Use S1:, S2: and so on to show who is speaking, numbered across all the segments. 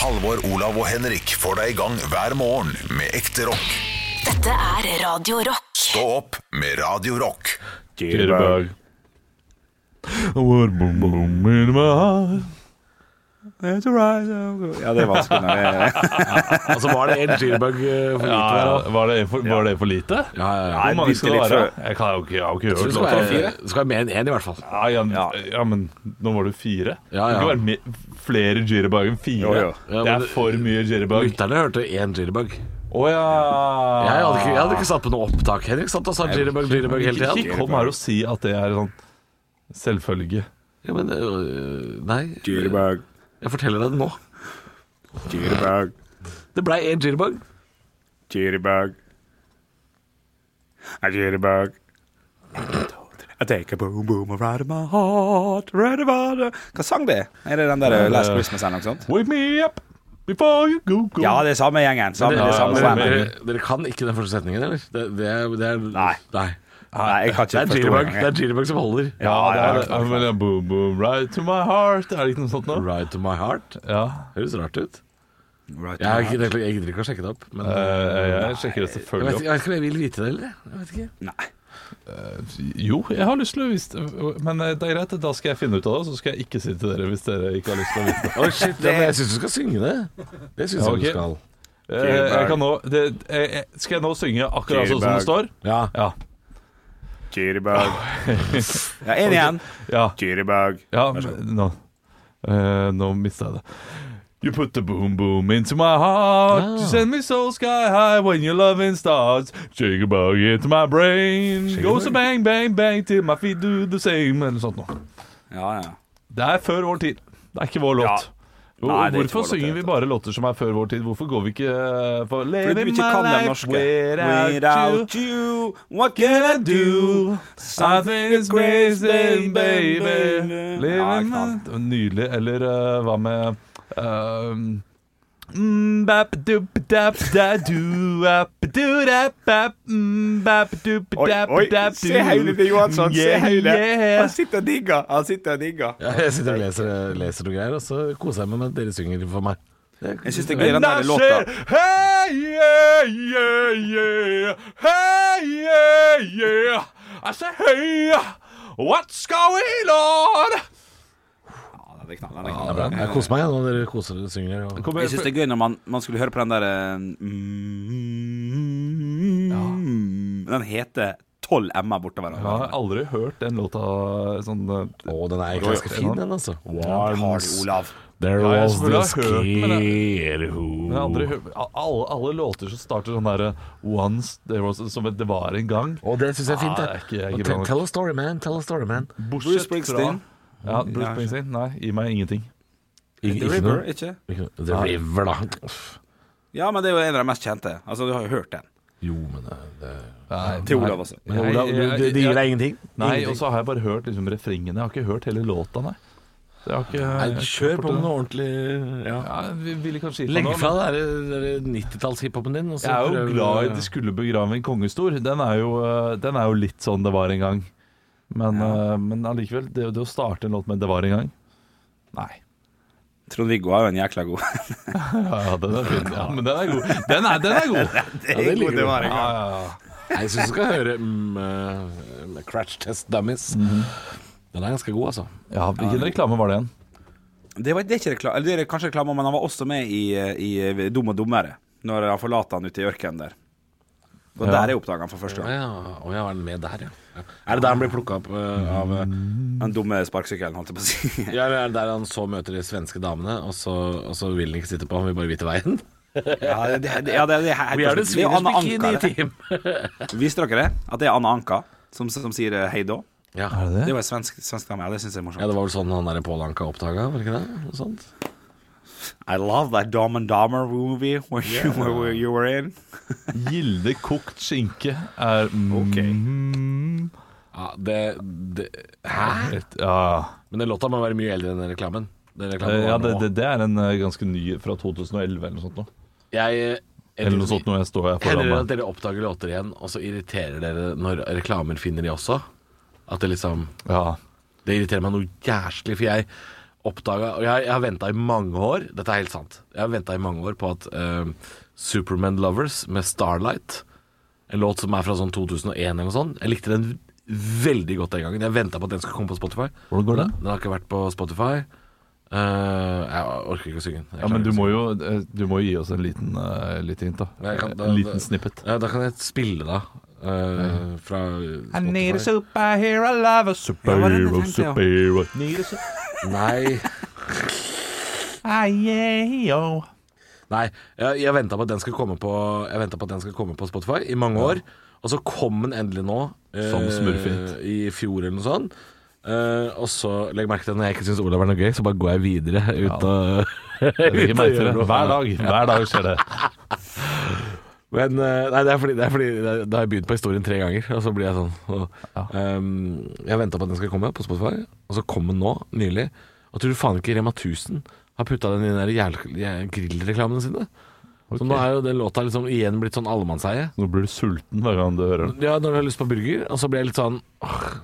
S1: Halvor, Olav og Henrik får deg i gang hver morgen med ekte rock.
S2: Dette er Radio Rock.
S1: Stå opp med Radio Rock.
S3: Jitterbug. What boom boom in my heart. It's a rise and go.
S4: Ja, det er vanskelig når det
S5: Altså var det en jitterbug eh, for lite
S3: Ja,
S5: hver da?
S3: ja, var, det for, var det for lite?
S5: Ja, ja, ja.
S3: Hvor mange
S4: bitte
S3: skal det
S4: litt
S3: være?
S4: for-
S3: Jeg, kan, jo ikke- jeg har jo ikke
S5: Det
S3: hørt
S5: skal
S3: låta.
S5: være, det skal være mer enn én i hvert fall.
S3: Ja, ja, men-
S4: Ja.
S3: ja, men nå var det jo fire.
S5: Ja,
S3: Det kan
S5: ja.
S3: ikke være me- flere jitterbug enn fire.
S4: Jo, jo.
S3: Det
S5: Ja, men
S3: er
S5: det-
S3: for mye jitterbug.
S5: Lytterne hørte én jitterbug.
S3: Å ja.
S5: Jeg hadde, ikke, jeg hadde ikke satt på noe opptak. Henrik satt og sa jitterbug, jitterbug hele
S3: Ikke,
S5: tiden.
S3: ikke kom her og si at det er sånn selvfølge.
S5: Ja, men øh, Nei.
S4: Dyrebug,
S5: Jeg forteller deg det nå.
S4: dyrebug,
S5: Det blei én jitterbug.
S4: dyrebug. A dyrebug. I take a boom boom right in my heart, right about the- Hva sang det? Er det den der uh, Last Christmas eller noe sånt?
S3: Wake me up before you go go.
S4: Ja, det er samme gjengen. Samme,
S5: Dere,
S4: det er samme
S5: dere,
S4: band.
S5: dere, dere kan ikke den første setningen, eller? Det, det, er- det er
S4: Nei.
S5: nei.
S4: Nei, jeg kan
S5: Det
S4: ikke
S5: er
S4: forstå
S5: jitterbug Det
S4: engang.
S5: er jitterbug som holder.
S3: Ja, det er
S4: Ja,
S3: det. Ja, men det er boom, boom, right to my heart. Er det ikke noe sånt nå?
S5: Ride to my heart.
S3: Ja.
S5: Høres rart ut.
S4: Right
S5: Jeg, har ikke- jeg gidder ikke å sjekke det opp. Men
S3: Eh, jeg sjekker det
S5: jeg, vet,
S3: selvfølgelig
S5: jeg vet ikke om jeg vil vite det, eller? Jeg vet ikke.
S4: Nei.
S3: opp. Jo, jeg har lyst til å vise det, men eh, det er greit. Da skal jeg finne ut av det, så skal jeg ikke si det til dere hvis dere ikke har lyst til å vite det.
S5: Oi, shit, ja, men jeg syns du skal synge det. Det syns
S3: Ja,
S5: jeg
S3: ok.
S5: du skal.
S3: Eh, Jeg kan nå, det eh, skal jeg nå synge akkurat sånn som det står?
S5: Ja.
S3: Ja.
S4: Dyrebug. Ja, en igjen.
S3: ja.
S4: Dyrebug.
S3: Ja, men nå eh, Nå mista jeg det. You put the boom boom into my heart.
S5: Ah.
S3: You send me so sky high when your loving starts. Shake a bug into my brain.
S5: Shake a
S3: Goes a
S5: bug.
S3: bang, bang, bang till my feet do the same. Eller sånt noe.
S4: Ja, ja.
S3: Det er før vår tid. Det er ikke vår
S4: Ja.
S3: låt. Hvor-
S4: Nei, det er ikke
S3: Hvorfor
S4: vår låt,
S3: synger vi
S4: det er
S3: bare låter som er før vår tid? Hvorfor går vi ikke eh, for
S4: Fordi vi ikke kan den norske. Without you, what can I do?
S3: Something is crazy, baby.
S4: Ja, jeg
S3: Living
S4: kan.
S3: my- Nydelig. Eller eh, hva med ehm, mm, bap, dup, dap, da, du, ap, du, dap, bap, mm, bap, dup,
S4: Oi,
S3: dap,
S4: oi,
S3: dap, du.
S4: se hele det, Johansson. Se
S3: Yeah,
S4: hele.
S3: yeah.
S4: Han sitter og digger. Han sitter og digger.
S5: Ja, jeg sitter og leser, leser noe greier, og så koser jeg meg med at dere synger for meg.
S4: Jeg syns det er gøy, den der
S3: Nasje,
S4: låta.
S3: Hey, yeah, yeah, yeah. Hey, yeah, yeah. I say, hey, what's going on?
S4: Ja, det er knall, den er
S5: Ja, bra.
S4: knall.
S5: Jeg koser meg når dere koser dere og synger. Og...
S3: Kommer-
S4: Jeg syns det er gøy når man, man skulle høre på den der eh, mm, Den heter 12 M-er bortover.
S3: Jeg har aldri hørt den låta sånn eh,
S5: Å, den er egentlig ganske fin, den, altså.
S4: Har du,
S5: Once
S4: Olav?
S5: there
S3: Ja, jeg
S5: was
S3: selvfølgelig
S5: this
S3: har hørt den, men men
S5: kid
S3: jeg har aldri
S5: who
S3: hørt, al- alle, alle låter som starter sånn derre Once there was Som et det var en gang.
S5: Å, det syns jeg er fint,
S3: Ja, det er ikke- jeg er ikke
S5: Og
S3: bra
S5: te-
S3: nok.
S5: Tell a story, man. Tell a story, man.
S3: Bortsett
S4: Bruce Springsteen.
S3: Fra, ja, Bruce Springsteen. Nei, gi meg ingenting.
S4: The
S5: Ikke, ikke
S4: River,
S5: noe.
S4: ikke?
S5: Ikke noe. The River, da. Uff.
S4: Ja, men det er jo en av de mest kjente. Altså, du har jo hørt den.
S5: Jo, men det, det...
S4: Til Olav også.
S5: Men Olav, du, det, det gir deg ingenting?
S3: Nei,
S5: Ingenting.
S3: og så har jeg bare hørt liksom refrengene. Jeg har ikke hørt hele låta, nei. Jeg har ikke,
S5: Nei, kjør på med noe ordentlig ja.
S3: Ja, vi ville kanskje gitt meg
S5: Legg
S3: noe,
S5: fra deg den der 90-tallshiphopen din. og så
S3: Jeg er jo
S5: prøv-
S3: glad i 'De skulle begrave en kongestor'. Den er jo, eh, den er jo litt sånn det var en gang. Men, eh, men allikevel, det, det å starte en låt med 'Det var en gang' Nei.
S4: Trond-Viggo er jo en jækla god.
S3: Ja, ja, den er fin. Ja, men den er god. Den er, den er god.
S4: Det
S5: det liker du.
S4: var en gang.
S3: Ja, ja, ja.
S5: Nei, Jeg syns du skal høre mm, eh, Cratch Test Dummies.
S3: Mhm.
S5: Den er ganske god, altså.
S3: ja Hvilken reklame var det igjen?
S4: Det, var, det, er ikke rekla- eller det er kanskje reklame, men han var også med i, i Dum og dummere. Når han forlater han ute i ørkenen der. Og
S3: Ja.
S4: der jeg oppdaga han for første
S5: Å
S4: gang.
S5: ja, å ja, var den med der, ja. ja. Er det der han blir plukka opp eh, av eh,
S4: Den dumme sparkesykkelen, holdt jeg på å si.
S5: Ja, eller er det der han så møter de svenske damene, og så, og så vil han ikke sitte på, han vil bare vite veien?
S4: Ja, det, det, det, ja, det, det, er
S5: Vi er
S4: helt- det er
S5: det
S4: jo
S5: Swedish
S4: Anna Anka.
S5: Bikini
S4: det.
S5: Team.
S4: Visste dere det? At det er Anna Anka som, som sier eh, hei da?
S5: Ja.
S3: Er
S4: Det
S3: det det?
S4: var en svensk, svensk dame. Ja, det syns jeg er
S5: ja,
S4: morsomt.
S5: det var vel sånn han der Pål Anka oppdaga, var det ikke det? Noe sånt?
S4: I love that Dom and Dahmer movie where you, where you were in.
S3: Gilde kokt skinke er mm,
S5: Ja, det, det Hæ?
S3: et, ja.
S5: Men den låta må være mye eldre enn den reklamen. Den reklamen
S3: Eh, ja,
S5: var
S3: det,
S5: nå.
S3: det, det er en eh, ganske ny fra 2011 eller noe sånt. nå.
S5: Jeg, eh,
S3: Eller noe sånt når jeg står her
S5: Hender det
S3: foran
S5: at
S3: meg.
S5: dere oppdager låter igjen, og så irriterer dere når reklamer finner de også? At det liksom
S3: Ja.
S5: Det irriterer meg noe jæslig, for jeg oppdaga Og jeg, jeg har venta i mange år, dette er helt sant, jeg har ventet i mange år på at eh, Superman Lovers med Starlight, en låt som er fra sånn 2001 eller noe sånt, jeg likte den veldig godt den gangen. Jeg venta på at den skulle komme på Spotify.
S3: Hvordan går den?
S5: Den har ikke vært på Spotify. Eh, jeg orker ikke å synge den. Jeg
S3: Ja, men
S5: klarer
S3: du
S5: ikke å
S3: må jo, eh, du må jo gi oss en liten, eh, lite hint, da.
S5: Jeg kan- da-
S3: en
S5: da-
S3: liten snippet.
S5: Ja, da kan jeg spille, da. eh, fra Spotify.
S3: superhero lover,
S4: Ja, hva er det
S3: superhero,
S4: den tenkte jeg
S3: superhero Need a su-
S5: Nei.
S3: Ah, yeah, yo.
S5: Nei. Jeg, jeg venta på at den skulle komme på Jeg ventet på at den skulle komme på Spotify i mange år. Og så kom den endelig nå. eh,
S3: Som smurfehit.
S5: I fjor eller noe sånt. Eh, og så legg merke til at når jeg ikke syns Olav er noe gøy, så bare går jeg videre ut av
S3: Jeg legger merke til det. Hver dag hver dag skjer det.
S5: Men eh, nei, det er fordi, det er fordi det- da har jeg begynt på historien tre ganger, og så blir jeg sånn. Og, ehm, jeg venta på at den skulle komme på Spotify, og så kom den nå, nylig. Og tror du faen ikke Rema 1000 har putta den i den der jæl- jæ- grillreklamene sine? Så nå er jo den låta liksom igjen blitt sånn allemannseie.
S3: Nå blir du sulten hver gang du hører den.
S5: Ja, når du har lyst på burger, og så blir jeg litt sånn åh,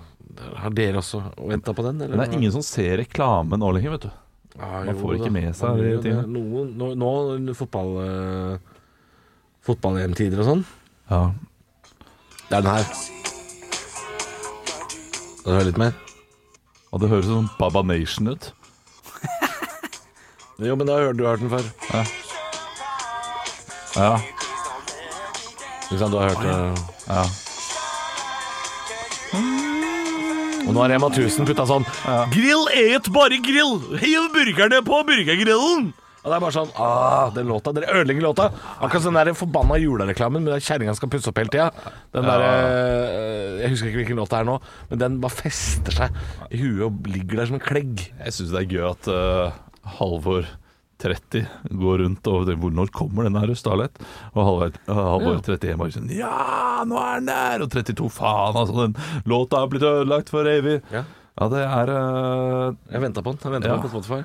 S5: Har dere også venta på den, eller?
S3: Men det er ingen som ser reklame nå lenger, vet du.
S5: Ah,
S3: man
S5: jo
S3: får ikke
S5: da.
S3: med seg
S5: Man
S3: de
S5: gjør jo det.
S3: tingene.
S5: Noen, nå, nå under fotball... eh, Fotball-EM-tider og sånn.
S3: Ja.
S5: Det er den her. Skal du høre litt mer?
S3: Og det høres sånn Baba Nation ut.
S5: Jo, men da har du hørt den før.
S3: Ja.
S5: Ikke sant, du har hørt det.
S3: ja.
S5: Og nå har Rema 1000 putta sånn Grill et bare grill! Hiv burgerne på burgergrillen! Og det er bare sånn ah, den låta, Dere ødelegger låta. Akkurat som den der forbanna julereklamen med den kjerringa som skal pusse opp hele tida. Den der, eh, Jeg husker ikke hvilken låt det er nå, men den bare fester seg i huet og ligger der som en klegg.
S3: Jeg syns det er gøy at eh, Halvor 30 går rundt og det, hvor- Når kommer den her Starlight? Og Halvor, eh, Halvor 31 bare sånn Ja, nå er den der! Og 32, faen altså, den låta har blitt ødelagt for evig.
S5: Ja.
S3: Ja, det er eh,
S5: Jeg venta på den. Jeg ventet
S3: Ja.
S5: på den på Spotify.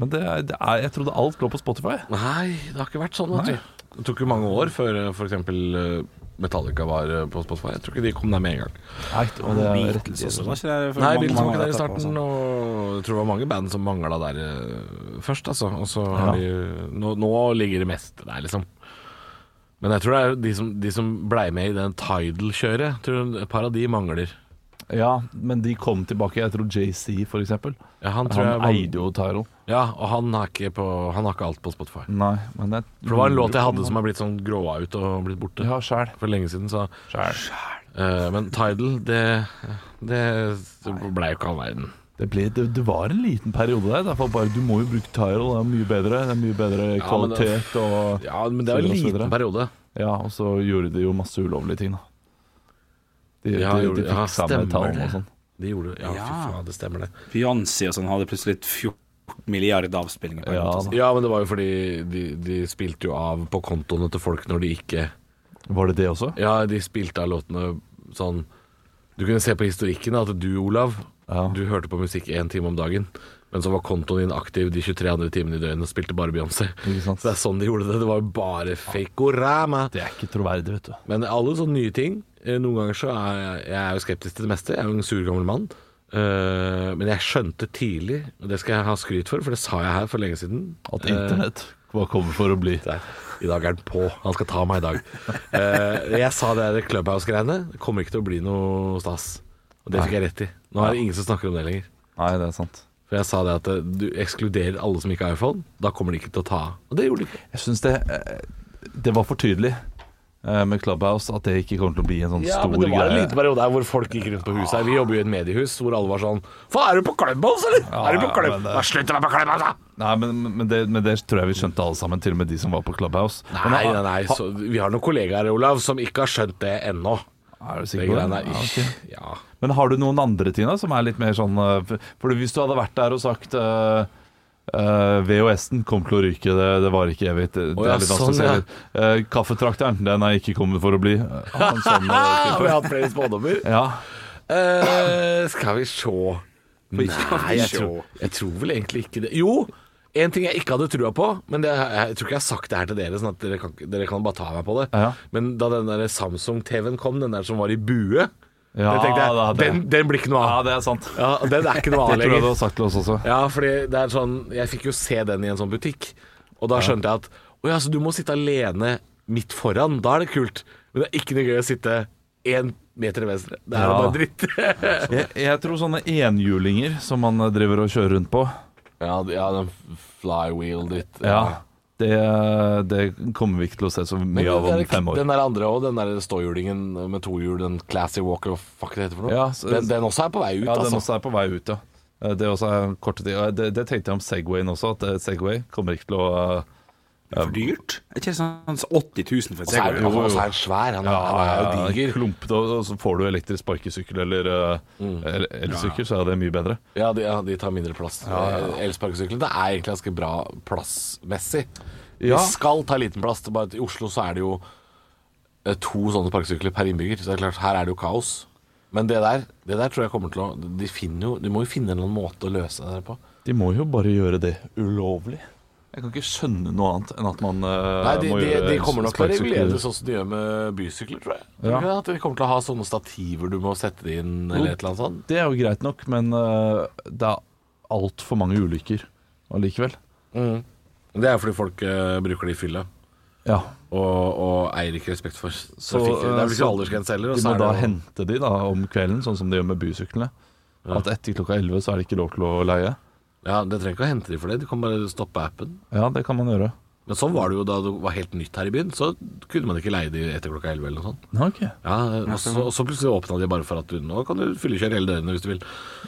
S3: Men det er, det er Jeg trodde alt lå på Spotify.
S5: Nei, det har ikke vært sånn.
S3: Nei.
S5: Vet du. Det tok jo mange år før eh, f.eks. Metallica var eh, på Spotify. Jeg tror ikke de kom der med en gang.
S3: Nei, og det er rettelse
S4: Beatles også,
S3: også.
S4: var ikke det for
S5: Nei,
S4: mange,
S5: Beatles var
S4: mange
S5: ikke
S4: år
S5: der
S4: etterpå
S5: i
S4: og
S5: starten,
S4: sånn.
S5: og jeg tror det var mange band som mangla der eh, først, altså. Og så har de eh, nå, nå ligger det meste der, liksom. Men jeg tror det er de som, de som blei med i den Tidal-kjøret. Tror et par av de mangler.
S3: Ja, men de kom tilbake. Jeg tror JC, for eksempel.
S5: Ja, han tror
S3: Han
S5: jeg
S3: eide jo Tyro.
S5: Ja, og han har ikke, på, han har ikke alt på Spotify.
S3: Nei, men jeg
S5: For det var en låt jeg hadde som er blitt sånn gråa ut og blitt borte
S3: Ja, sjæl.
S5: for lenge siden, så Eh, men Tidal, det, det blei jo ikke all verden.
S3: Det, ble, det, det var en liten periode der. Derfor bare, du må jo bruke Tyrol, det er mye bedre. Det er mye bedre
S5: Ja, men det-
S3: kvalitet og
S5: Ja, men det var en
S3: Så videre, så
S5: liten
S3: videre.
S5: periode.
S3: Ja, og så gjorde de jo masse ulovlige ting, da. De,
S5: Ja,
S3: de,
S5: gjorde-
S3: de fikk
S5: ja,
S3: samme
S5: stemmer
S3: tallene
S5: det.
S3: og sånn.
S5: De gjorde Ja, fy
S4: Ja.
S5: faen, det stemmer det.
S4: Beyoncé og sånn hadde plutselig 14 milliarder avspillinger. på en
S3: Ja,
S4: måte,
S3: da.
S5: Ja, men det var jo fordi de, de spilte jo av på kontoene til folk når de ikke
S3: Var det det også?
S5: Ja, de spilte av låtene sånn Du kunne se på historikken at du, Olav,
S3: Ja.
S5: du hørte på musikk én time om dagen. Men så var kontoen din aktiv de 23 andre timene i døgnet og spilte bare Beyoncé.
S3: Ikke sant?
S5: Så det er sånn de gjorde det. Det var jo bare fake-orama.
S3: Det er ikke troverdig, vet du.
S5: Men alle sånne nye ting eh, Noen ganger så er jeg, jeg er jo skeptisk til det meste Jeg er jo en sur gammel mann Eh, Men jeg skjønte tidlig Og det skal jeg ha skryt for For det sa jeg her for lenge siden
S3: At
S5: Eh,
S3: internett var kommet for å bli.
S5: der. I dag er den på Han skal ta meg i dag Eh, Jeg sa det der Clubhouse-greiene Det kommer ikke til å bli noe stas Og det fikk jeg rett i Nå er det ingen som snakker om det lenger
S3: Nei, det er sant.
S5: For jeg sa det at eh, du ekskluderer alle som ikke har iPhone Da kommer de ikke til å ta av Og det gjorde de ikke
S3: Jeg syns det eh, Det var for tydelig eh, med Clubhouse at det ikke kommer til å bli en sånn
S5: Ja,
S3: stor
S5: men det var en
S3: greie.
S5: liten periode her hvor folk gikk rundt på huset her. Vi jobber jo i et mediehus hvor alle var sånn Faen, er du på Clubhouse, eller? er du
S3: ja, men
S5: på Clubhouse?
S3: det-
S5: Da slutter jeg på Clubhouse, da!
S3: Nei, men, men, det, men det tror jeg vi skjønte alle sammen, til og med de som var på Clubhouse. Men
S5: Nei,
S3: da-
S5: nei, nei. Så, vi har noen kollegaer, Olav, som ikke har skjønt det ennå.
S3: Er du
S5: Det
S3: sikker på det?
S5: greiene er
S3: Ja,
S5: ikke
S3: ok.
S5: Ja.
S3: Men har du noen andre, Tina, som er litt mer sånn eh, for- For hvis du hadde vært der og sagt eh, eh, VHS-en kom til å ryke, det, det var ikke evig. Det, det
S5: ja,
S3: er litt vanskelig å
S5: sånn,
S3: se
S5: ja.
S3: litt. Eh, kaffetrakteren, den er ikke kommet for å bli. Eh, ha en sånn, eh,
S5: Ah, vi har hatt flere spådommer.
S3: type. ja.
S5: Eh, skal vi sjå Nei, jeg
S4: sjå.
S5: tror, jeg tror vel egentlig ikke det. Jo! En ting jeg ikke hadde trua på, men det, jeg tror ikke jeg har sagt det her til dere, sånn at dere kan, dere kan bare ta meg på det.
S3: Ja.
S5: Men da den der Samsung-TV-en kom, den der som var i bue,
S3: Ja,
S5: det tenkte jeg,
S3: Ah, da, det-
S5: Den, den blir ikke noe
S3: Ja,
S5: av.
S3: det er sant.
S5: Ja, den er ikke noe
S3: Det
S5: av
S3: tror jeg
S5: lenger.
S3: du har sagt til oss også.
S5: Ja, fordi det er sånn Jeg fikk jo se den i en sånn butikk, og da skjønte jeg at Å ja, så du må sitte alene midt foran. Da er det kult. Men det er ikke noe gøy å sitte én meter til venstre. Det er jo
S3: Ja.
S5: bare dritt.
S3: Jeg, jeg tror sånne enhjulinger som man eh, driver og kjører rundt på,
S5: ja, d- ja, den flywheel-dritt.
S3: ja, det, eh, det kommer vi ikke til å se så
S5: Men
S3: mye av
S5: den
S3: om
S5: der-
S3: fem år.
S5: Den der andre òg, den der ståhjulingen med to hjul, den classy walker og fuck det heter for noe.
S3: Ja, så-
S5: den, den også er på vei ut,
S3: Ja, den
S5: altså.
S3: også er på vei ut, ja. Eh, Det også er korte tid. Og Det, det tenkte jeg om Segwayen også, at eh, Segway kommer ikke til å eh,
S4: For dyrt? Er ikke det sånn 80 000 for et
S5: Og så er,
S4: Segway?
S5: han- altså, er han svær. Han, er- han er jo diger.
S3: klumpete, eh, og og så får du elektrisk sparkesykkel eller eh, el- elsykkel, så er det mye bedre.
S5: Ja, de, ja, de tar mindre plass. Eh, Elsparkesyklene det er egentlig ganske bra plassmessig.
S3: Ja.
S5: De skal ta liten plass. det er Bare at I Oslo så er det jo eh, to sånne sparkesykler per innbygger. Så det er klart, her er det jo kaos. Men det der, det der tror jeg kommer til å De, finner jo, de må jo finne en eller annen måte å løse det der på.
S3: De må jo bare gjøre det ulovlig. Jeg kan ikke skjønne noe annet enn at man eh,
S5: Nei, de,
S3: må
S5: de,
S3: gjøre
S5: de kommer nok til å
S3: sparkesykler-
S5: regulere det sånn som de gjør med bysykler, tror jeg.
S3: Ja.
S5: Tror du ikke det? At de kommer til å ha sånne stativer du må sette det inn, eller et eller annet sånt.
S3: Det er jo greit nok, men eh, det er altfor mange ulykker allikevel.
S5: Det er fordi folk eh, bruker det i fylla.
S3: Ja,
S5: og, og eier ikke respekt for trafikk.
S3: eh,
S5: Det er vel
S3: så
S5: ikke aldersgrense heller. og
S3: De
S5: så
S3: må
S5: er
S3: da
S5: det jo-
S3: hente de da om kvelden, sånn som de gjør med bysyklene. At etter klokka 11 så er det ikke lov til å leie.
S5: Ja, Det trenger ikke å hente de for det, du kan bare stoppe appen.
S3: Ja, det kan man gjøre.
S5: Men sånn var det jo da det var helt nytt her i byen. Så kunne man ikke leie de etter klokka 11 eller noe sånt.
S3: Ja, ok.
S5: Ja, og så, og så plutselig åpna de bare for at du nå kan du fyllekjøre hele døgnet hvis du vil.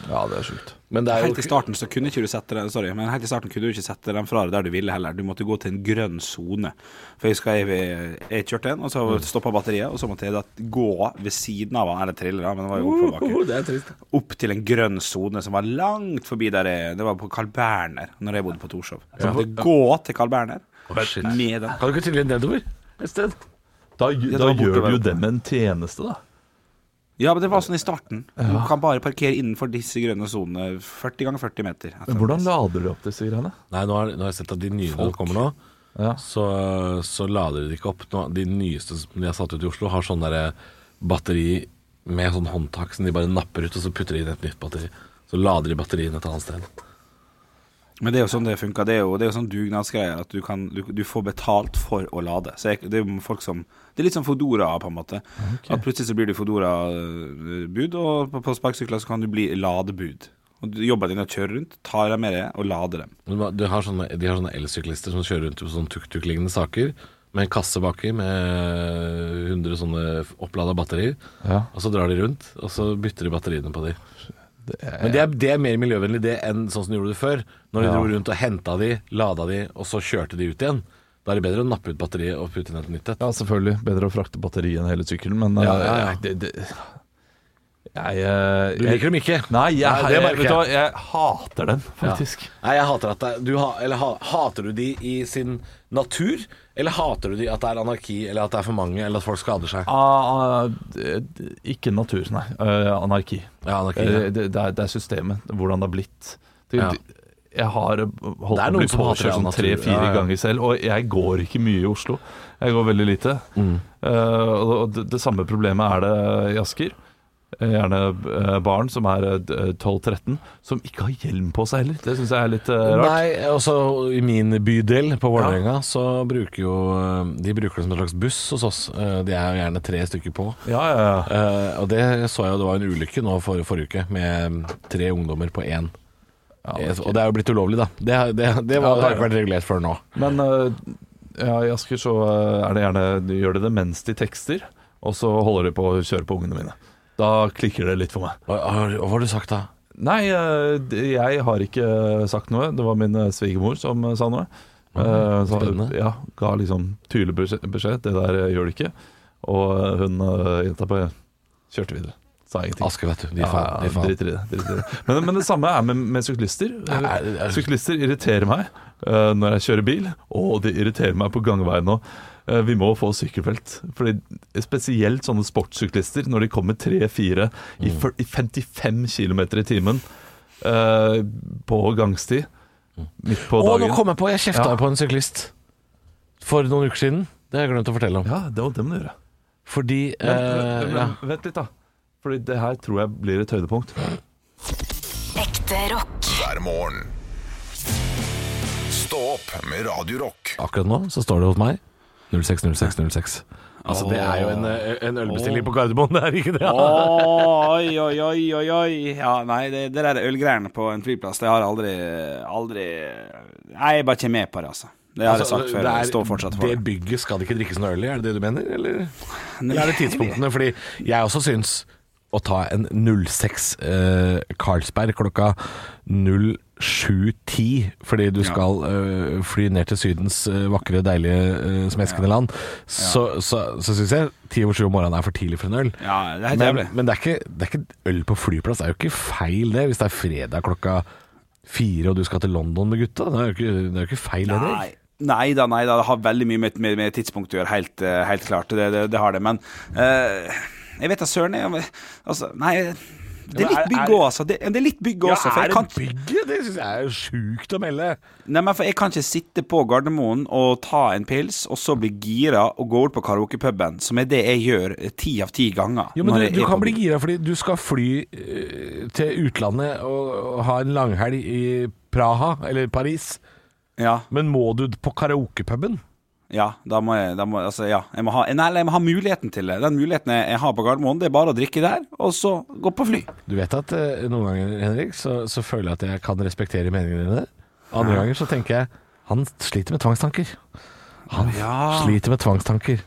S3: Ja, det er sjukt.
S5: Men det er jo
S4: Helt i starten så kunne ikke du sette den Sorry, men helt i starten kunne du ikke sette den fra deg der du ville heller. Du måtte gå til en grønn sone. For jeg husker jeg, jeg kjørte en, og
S5: Mm.
S4: så stoppa batteriet, og så måtte jeg da gå ved siden av han eller trille, da, men det var jo oppoverbakke.
S5: Oh, Det er trist.
S4: Opp til en grønn sone som var langt forbi der jeg Det var på Carl Berner, når jeg bodde på Torshov. Så jeg måtte gå til Carl Berner
S5: shit.
S4: med den.
S5: Kan du ikke trille nedover et sted?
S3: Da,
S4: det
S3: da
S4: var borte
S3: gjør
S4: å
S3: du
S4: være
S3: jo
S4: oppe.
S3: dem en tjeneste, da.
S4: Ja, men det var sånn i starten. Du kan bare parkere innenfor disse grønne sonene 40 ganger 40 meter.
S3: Men hvordan lader de opp disse greiene?
S5: Nei, nå har, nå har jeg sett at de nye som kommer nå,
S3: Ja.
S5: så, så lader de det ikke opp. Nå, de nyeste som de har satt ut i Oslo, har sånn derre batteri med sånn håndtak som de bare napper ut, og så putter de inn et nytt batteri. Så lader de batteriet inn et annet sted.
S4: Men det er jo sånn det funker. Det er jo, det er jo sånn dugnadsgreier at du, kan, du, du får betalt for å lade. Så jeg, det er jo folk som Det er litt sånn Fodora, på en måte. At plutselig så blir du Fodora-bud, og på, på sparkesykler så kan du bli ladebud. Og du jobber din er å kjøre rundt, tar dem med deg og lader dem.
S5: Men hva- Du har sånne, de har sånne elsyklister som kjører rundt på sånne tuk-tuk-lignende saker, med en kasse baki med 100 sånne opplada batterier.
S3: Ja.
S5: Og så drar de rundt, og så bytter de batteriene på de.
S3: Det er,
S5: Men det er, det er mer miljøvennlig det enn sånn som de gjorde det før. Når de
S3: Ja.
S5: dro rundt og henta de, lada de, og så kjørte de ut igjen. Da er det bedre å nappe ut batteriet og putte inn et nytt et.
S3: ja, selvfølgelig. Bedre å frakte batteriet enn hele sykkelen, men
S5: Ja,
S3: eh,
S5: ja, ja.
S3: Det, det, jeg, eh,
S5: Du
S3: jeg-
S5: liker dem ikke.
S3: Nei, jeg,
S5: Nei, det
S3: jeg,
S5: merker
S3: vet du hva,
S5: jeg.
S3: jeg hater den,
S5: Ja.
S3: faktisk.
S5: Nei, jeg hater at det er du ha, Eller ha, hater du de i sin natur? Eller hater du de at det er anarki, eller at det er for mange, eller at folk skader seg?
S3: Ah, ah, d- d- ikke natur, nei. Eh, anarki.
S5: Ja, anarki.
S3: Eh,
S5: Ja.
S3: det, det, er, det er systemet, hvordan det har blitt. Det,
S5: Ja.
S3: det- Jeg har eh, holdt
S5: Det er
S3: på å bli
S5: noen som
S3: påkjørt
S5: hater det av
S3: sånn
S5: natur.
S3: tre-fire
S5: Ja, ja.
S3: ganger selv, og jeg går ikke mye i Oslo. Jeg går veldig lite.
S5: Mm.
S3: Eh, og og det, det samme problemet er det i Asker. Eh, Gjerne eh, barn som er eh, d- 12-13, som ikke har hjelm på seg heller. Det syns jeg er litt eh, rart.
S5: Nei, også i min bydel på Vålerenga så bruker jo eh, De bruker det som en slags buss hos oss. Eh, De er jo gjerne tre stykker på.
S3: Ja, ja, ja.
S5: Eh, og det så jeg jo, det var en ulykke nå for, forrige uke med mm, tre ungdommer på én. Eh,
S3: ok.
S5: Og det er jo blitt ulovlig, da. Det, det, det, var,
S3: Ja, det er
S5: det har
S3: det.
S5: ikke vært regulert før nå.
S3: Men eh, ja, i Asker så eh, er det gjerne de gjør de det mens de tekster, og så holder de på å kjøre på ungene mine. Da klikker det litt for meg.
S5: Hva, har- hva har du sagt da?
S3: Nei, eh, det- jeg har ikke sagt noe. Det var min eh, svigermor som eh, sa noe. Eh, sa-
S5: spennende.
S3: ja, ga liksom tydelig beskjed- beskjed. Det der eh, gjør du ikke. Og eh, hun eh, jenta bare kjørte videre. Sa ingenting.
S5: Aske, vet du. De
S3: Ja,
S5: faen. De
S3: ja,
S5: faen.
S3: driter i det. Driter i det. Men, men det samme er med, med syklister.
S5: Ja, er det- er det-
S3: Syklister irriterer meg eh, når jeg kjører bil, og de irriterer meg på gangveien nå. Eh, vi må få sykkelfelt. Fordi Spesielt sånne sportssyklister, når de kommer 3-4 i,
S5: Mm.
S3: fyr- i 55 km i timen eh, på gangsti midt på
S5: Mm. Å, nå
S3: dagen.
S5: kom jeg på! Jeg kjefta
S3: Ja.
S5: på en syklist for noen uker siden. Det har jeg glemt å fortelle om.
S3: Ja, det, det må du gjøre.
S5: Fordi
S3: Men,
S5: eh,
S3: men,
S5: ja.
S3: Vent litt, da. Fordi det her tror jeg blir et høydepunkt.
S2: Ekte rock.
S1: hver morgen. Stå opp med Radio Rock.
S5: Akkurat nå så står det hos meg 060606. Altså, det er jo en, en ølbestilling på Gardermoen, det Altså, er ikke det?
S4: Oi, oi, oi, oi, oi. Ja, nei, det, det der ølgreiene på en flyplass, det har jeg aldri, aldri Nei, jeg er bare ikke med på det, altså. Det har jeg
S5: Altså,
S4: sagt før,
S5: det
S4: og
S5: er-
S4: jeg står fortsatt for
S5: Det
S4: det.
S5: bygget skal det ikke drikkes noe øl i, er det det du mener? Eller, eller er det tidspunktene? Fordi jeg også syns å ta en 06 eh, Carlsberg klokka 07.10 fordi du skal eh, fly ned til Sydens eh, vakre, deilige, eh, smeskende land, så, så, så syns jeg ti over sju om morgenen er for tidlig for en øl.
S4: Ja, det er helt
S5: Men,
S4: jævlig.
S5: men det, er ikke, det er ikke øl på flyplass. Det er jo ikke feil, det. Hvis det er fredag klokka fire og du skal til London med gutta. Det er jo ikke, det er jo ikke feil, det. Erik.
S4: Nei. Nei da, nei da. Det har veldig mye med, med, med tidspunkt å gjøre, helt, eh, helt klart. Det, det, det har det. Men eh, jeg vet da søren. jeg- Altså, nei Det er
S5: Men er-
S4: litt bygg
S5: er-
S4: òg, altså. Det, det er litt bygg også, for jeg kan,
S5: bygget? Det syns jeg er sjukt å melde.
S4: nei, men for jeg kan ikke sitte på Gardermoen og ta en pils, og så bli gira og gå ut på karaokepuben, som er det jeg gjør eh, ti av ti ganger.
S5: Jo, men
S4: når
S5: du,
S4: jeg
S5: du
S4: er
S5: kan
S4: på
S5: bli
S4: bygg.
S5: gira fordi du skal fly eh, til utlandet og, og ha en langhelg i Praha eller Paris.
S4: Ja,
S5: Men må du på karaokepuben?
S4: ja, da må jeg, da må, altså, ja. Jeg må, ha, nei, eller jeg må ha muligheten til det. Den muligheten jeg, jeg har på Gardermoen, det er bare å drikke der, og så gå på fly.
S5: Du vet at eh, noen ganger, Henrik, så, så føler jeg at jeg kan respektere meningene dine. Andre ganger så tenker jeg han sliter med tvangstanker. Han
S4: Ja.
S5: sliter med tvangstanker.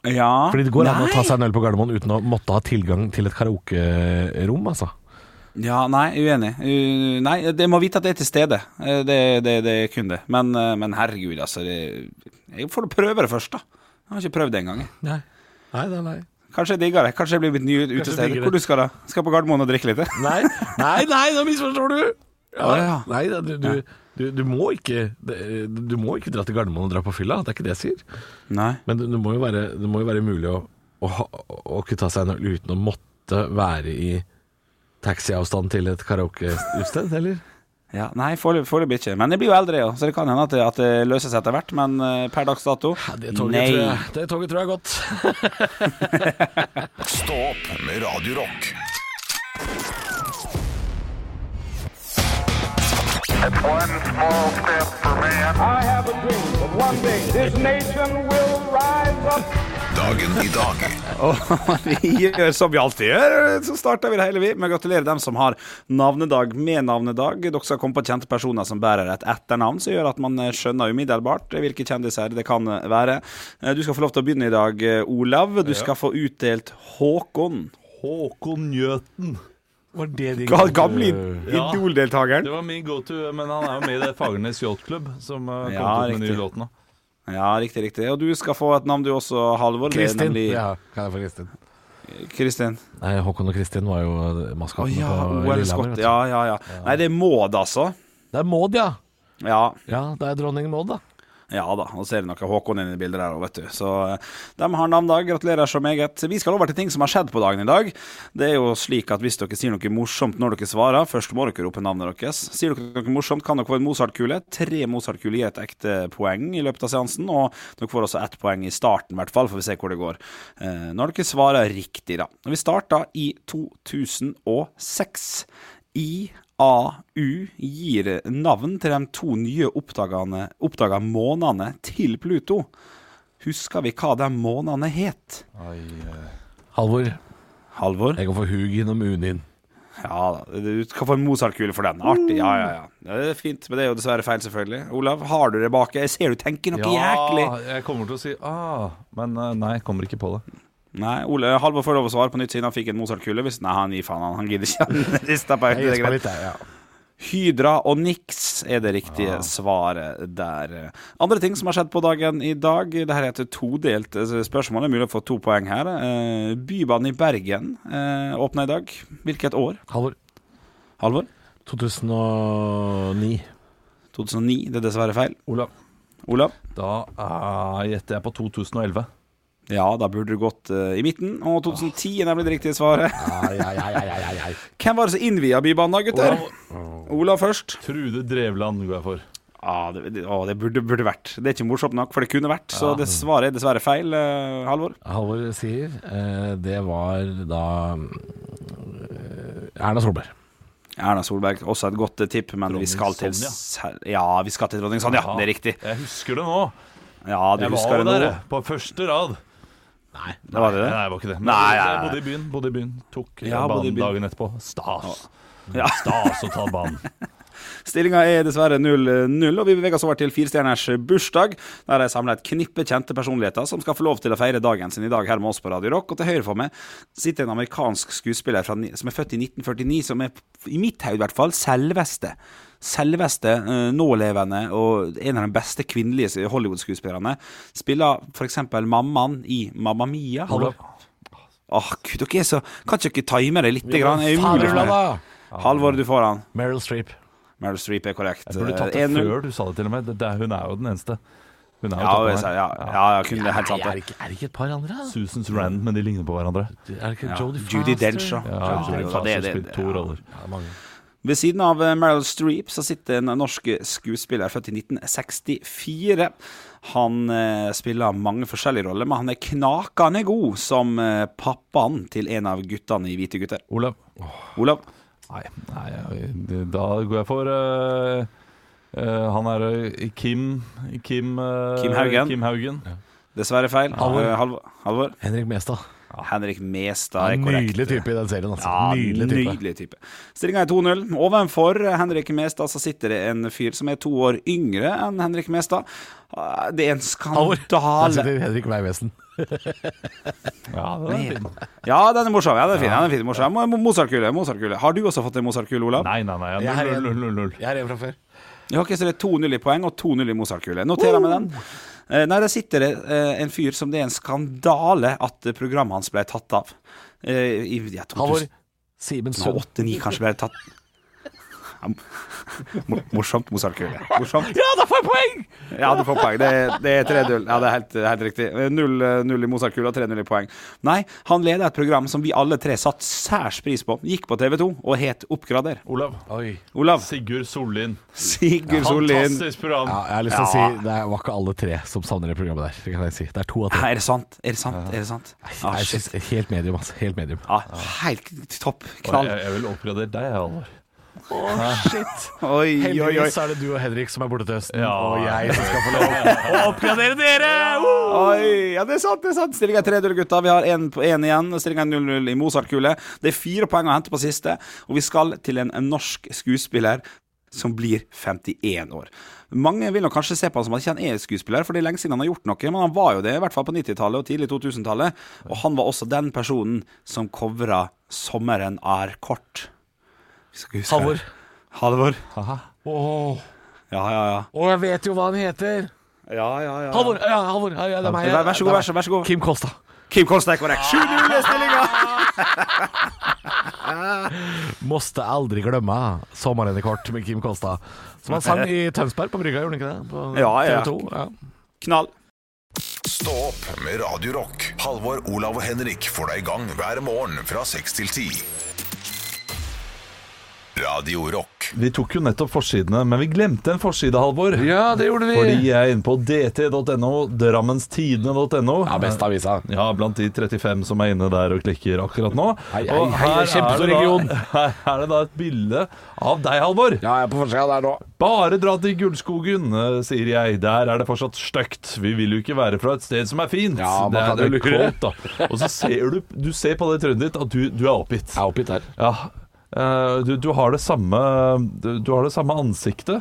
S4: Ja.
S5: Fordi det går an å
S4: Nei.
S5: ta seg en øl på Gardermoen uten å måtte ha tilgang til et karaokerom, altså.
S4: Ja, nei, uenig. Uh, nei, det må vite at det er til stede. Uh, det, det, det er kun det. Men, uh, men herregud, altså. Det, jeg får prøve det først, da. Jeg har ikke prøvd det engang. jeg.
S5: Nei. Nei, nei, nei.
S4: Kanskje jeg digger det. Kanskje jeg blir mitt nye
S5: digger
S4: utested.
S5: det.
S4: Hvor du skal da? Skal på Gardermoen og drikke litt?
S5: Nei, nei, nei, nå misforstår du! Ja,
S4: Å, ja.
S5: Nei, da, du, du, du, du, må ikke, du må ikke dra til Gardermoen og dra på fylla, det er ikke det jeg sier.
S4: Nei.
S5: Men det det må jo være, det må jo være mulig å, å, ha- å kunne ta seg en øl uten å måtte være i taxiavstand til et karaokeutested, eller?
S4: Ja, nei, forelø- foreløpig ikke. Men jeg blir jo eldre, jo, så det kan hende at det, at det løser seg etter hvert. Men uh, per dags dato nei.
S5: det toget tror jeg er godt.
S1: Stå opp med Radio Rock.
S6: One small step for man. I have a dream that one day this nation will rise up.
S1: Dagen i dag
S4: Vi gjør som vi alltid gjør, så starter vi det hele, vi. Med å gratulere dem som har navnedag med navnedag. Dere skal komme på kjente personer som bærer et etternavn, som gjør at man eh, skjønner umiddelbart hvilke kjendiser det kan eh, være. Du skal få lov til å begynne i dag, eh, Olav. Du skal få utdelt Håkon.
S3: Håkon Njøten. Var det de
S4: Ga- Gamle
S3: Ja. Det
S4: Idol-deltakeren.
S3: var min go-to, men han er jo med i det Fagernes Yachtklubb, som eh, kom
S4: Ja,
S3: ut med den
S4: riktig.
S3: nye låten. da.
S4: Ja, riktig, riktig. Og du skal få et navn du også, Halvor. Det er
S5: Kristin.
S4: nemlig
S5: Ja, kan jeg få Kristin?
S4: Kristin.
S5: Nei, Håkon og Kristin var jo
S4: Å
S5: maskotene
S4: ja,
S5: på Lillehammer.
S4: OL-skott.
S5: vet du.
S4: Ja, ja, ja. Nei, det er Maud, altså.
S5: Det er Maud, ja.
S4: Ja.
S5: Ja, det er dronning Maud, da.
S4: Ja da, og så er det noe Håkon inne i bildet der òg, vet du. Så eh, de har navnedag. Gratulerer så meget. Vi skal over til ting som har skjedd på dagen i dag. Det er jo slik at hvis dere sier noe morsomt når dere svarer, først må dere rope navnet deres. Sier dere noe morsomt, kan dere få en Mozart-kule. Tre Mozart-kuler gir et ekte poeng i løpet av seansen, og dere får også ett poeng i starten, i hvert fall, får vi se hvor det går. Eh, Når dere svarer riktig, da. Og Vi starta i 2006. I AU gir navn til de to nye oppdagene- oppdaga månedene til Pluto. Husker vi hva de månedene het?
S5: Halvor,
S4: Halvor?
S5: jeg går for Hugin og Munin.
S4: Ja da, du skal få en Mozart-kule for den. Artig. Ja, ja, ja. Det er fint, men det er jo dessverre feil, selvfølgelig. Olav, har du det bak? Jeg ser du tenker noe jæklig.
S3: jeg kommer til å si ah, men eh, nei, jeg kommer ikke på det.
S4: Nei, Ole, Halvor får lov å svare på nytt siden han fikk en Mozart-kule. Hvis Nei, han gir faen, han, han gidder ikke. Han rister på øynene, det er greit. Hydra og Nix er det riktige svaret der. Andre ting som har skjedd på dagen i dag. Det her er et todelt eh, spørsmål. Det er mulig å få to poeng her. Eh, Bybanen i Bergen eh, åpna i dag. Hvilket år?
S5: Halvor,
S4: Halvor?
S5: 2009.
S4: 2009. Det er dessverre feil.
S3: Olav,
S4: Olav?
S3: da eh, gjetter jeg på 2011.
S4: Ja, da burde du gått eh, i midten. Og 2010 er nemlig det riktige svaret. Hvem var det som innvia Bybanen da, gutter? Olav først.
S3: Trude Drevland går jeg for.
S4: Ah, det, det, å, det burde, burde vært. Det er ikke morsomt nok, for det kunne vært. Så det svaret er dessverre feil, eh, Halvor.
S5: Halvor sier eh, det var da eh, Erna Solberg.
S4: Erna Solberg, også et godt eh, tipp, men vi skal til
S3: Sonja.
S4: Ser- Ja, vi skal til dronning Sonja. Det er riktig.
S3: Jeg husker det nå.
S4: Ja, du
S3: Jeg var
S4: husker
S3: jo
S4: det nå.
S3: der, jeg, på første rad.
S4: Det var det.
S3: Nei, jeg var ikke det. Men
S4: Nei,
S3: jeg,
S4: nei, nei.
S3: bodde i byen. Bodde i byen Tok eh,
S4: Ja, bodde i
S3: banen
S4: byen.
S3: dagen etterpå. Stas.
S4: Ja.
S3: Stas å ta banen.
S4: Stillinga er dessverre 0-0, og vi beveger oss over til firestjerners bursdag, der jeg samler et knippe kjente personligheter som skal få lov til å feire dagen sin i dag her med oss på Radio Rock. Og til høyre for meg sitter en amerikansk skuespiller fra, ni- som er født i 1949, som er, i mitt hode i hvert fall, selveste. Selveste, eh, nålevende og en av de beste kvinnelige Hollywood-skuespillerne. Spiller f.eks. mammaen i Mamma Mia. Halvor. Åh, gud, dere er så Kan ikke dere time det litt? Grann? Det er
S5: Faen,
S4: umulig for meg.
S5: Ulla,
S4: Halvor, du får han.
S5: Meryl Streep.
S4: Meryl Streep er korrekt.
S3: Jeg burde tatt det
S4: 1-0.
S3: før du sa det, til og med. Det, det, hun er jo den eneste. Hun er jo
S4: Ja,
S3: toppen
S4: jeg
S3: her.
S4: sa- ja, ja, ja, kunne det helt sant.
S5: Nei, er,
S4: det.
S5: det ikke, er det ikke et par andre? da?
S3: Susans Rand, men de ligner på hverandre.
S5: Er det ikke
S4: Ja.
S5: Jodie Foster?
S4: Judy Dench, da.
S3: Ja,
S4: Ja,
S3: Jodie
S4: det-
S3: Foster
S4: det- det-
S3: spilte to
S4: ja.
S3: roller.
S5: Ja, det er mange.
S4: Ved siden av eh, Meryl Streep så sitter en norsk skuespiller født i 1964. Han eh, spiller mange forskjellige roller, men han er knakende god som eh, pappaen til en av guttene i Hvite gutter.
S3: Olav?
S4: Olav?
S3: Nei, nei jeg- da går jeg for eh, eh, han er eh, Kim Kim, eh,
S4: Kim Haugen.
S3: Kim Haugen.
S4: Dessverre feil.
S5: Halvor.
S4: Eh, Halvor. Halvor.
S5: Henrik Mestad.
S4: Henrik Mestad er korrekt.
S5: Nydelig type i den serien. Altså.
S4: Ja,
S5: nydelig type.
S4: nydelig type. Stillinga er 2-0. Ovenfor Henrik Mestad så sitter det en fyr som er to år yngre enn Henrik Mestad. Eh, Det er en
S5: Der
S4: skandale.
S5: sitter Henrik Veivesen.
S3: Ja, det er fin.
S4: Ja, den er morsom. Ja, den er fin. Ja, den er fin morsom. Mo- Mozartkule. Mozartkule. Har du også fått en Mozartkule, Olav?
S3: Nei, nei, nei.
S5: Jeg er en.
S3: 0-0-0.
S5: Jeg er en fra før.
S4: Ja, ok, så det er 2-0 i poeng og 2-0 i Mozartkule. Noterer jeg meg den. Eh, Nei, der sitter det eh, en fyr som det er en skandale at eh, programmet hans ble tatt av. Eh, I ja, 2000
S5: Halvor Simen
S4: Nå,
S5: Sund.
S4: 8-9 kanskje ble tatt. Ja, mo- Morsomt, Mozartkule. Morsomt.
S5: Ja, da får jeg poeng!
S4: Ja, du får poeng. Det, er- det er 3-0. Ja, det er helt, helt riktig. 0-0 i Mozartkula, 3-0 i poeng. Nei, han leder et program som vi alle tre satte særs pris på. Gikk på TV 2 og het Oppgrader.
S3: Olav.
S5: Oi.
S4: Olav.
S3: Sigurd Sollien.
S4: Sigurd Sollien.
S3: Fantastisk program.
S5: Ja, jeg har lyst til å si det var ikke alle tre som savner det programmet der. Det kan jeg si. Det er to av tre.
S4: Ja, er det sant? Er det sant? Er det sant?
S5: Nei,
S4: Ah,
S5: jeg
S4: shit.
S5: synes- helt medium, altså. Helt medium.
S4: Ja, helt topp.
S3: jeg,
S4: Knall.
S3: jeg vil oppgradere deg, jeg, Halvor.
S4: Ah, Oi, oi, oi.
S5: Heldigvis er det du og Henrik som er borte til høsten,
S3: Ja.
S5: og jeg som skal få lov å oppgradere dere! Woo!
S4: Oi, ja, det er sant, det er sant. Stillinga er 3-0, gutta. Vi har én på én igjen. Stillinga er 0-0 i Mozart-kule. Det er fire poeng å hente på siste, og vi skal til en, en norsk skuespiller som blir 51 år. Mange vil nok kanskje se på han som at ikke han er skuespiller, for det er lenge siden han har gjort noe, men han var jo det, i hvert fall på 90-tallet og tidlig 2000-tallet. Og han var også den personen som covra 'Sommeren er kort'. Vi skal huske det.
S5: Halvor.
S4: Halvor.
S5: Åh,
S4: Ja, ja, ja.
S5: åh, jeg vet jo hva han heter.
S4: ja, ja, ja.
S5: Halvor, ja, Halvor, ja, ja, det er meg.
S4: Vær vær så god, vær så, vær så god.
S5: Kim Kolstad.
S4: Kim Kolstad er korrekt. 7-0 i stillinga.
S5: Måste aldri glemme sommeren er kort med Kim Kolstad. Som han sang i Tønsberg på brygga, gjorde han ikke det? På
S4: Ja, ja.
S5: TV 2. Ja.
S4: Knall.
S1: Stå opp med Radio Rock. Halvor, Olav og Henrik får deg i gang hver morgen fra 6 til 10. Radio Rock.
S3: Vi tok jo nettopp forsidene, men vi glemte en forside, Halvor. Ja, det gjorde vi Fordi jeg er inne på dt.no, drammenstidene.no.
S5: ja, beste avisa.
S3: Ja, blant de 35 som er inne der og klikker akkurat nå.
S5: Hei, hei, hei,
S3: her
S5: det er kjempestor
S3: er det da-
S5: region.
S3: Her er det da et bilde av deg, Halvor.
S5: Ja, jeg er på forsida der nå.
S3: Bare dra til Gullskogen, eh, sier jeg. Der er det fortsatt stygt. Vi vil jo ikke være fra et sted som er fint.
S5: Ja,
S3: det
S5: man
S3: er
S5: kan jo
S3: det
S5: lure.
S3: kaldt, da. Og så ser du, du ser på det trynet ditt at du, du er oppgitt.
S5: Jeg er oppgitt her.
S3: Ja. eh, Du, du, har det samme, du, du har det samme ansiktet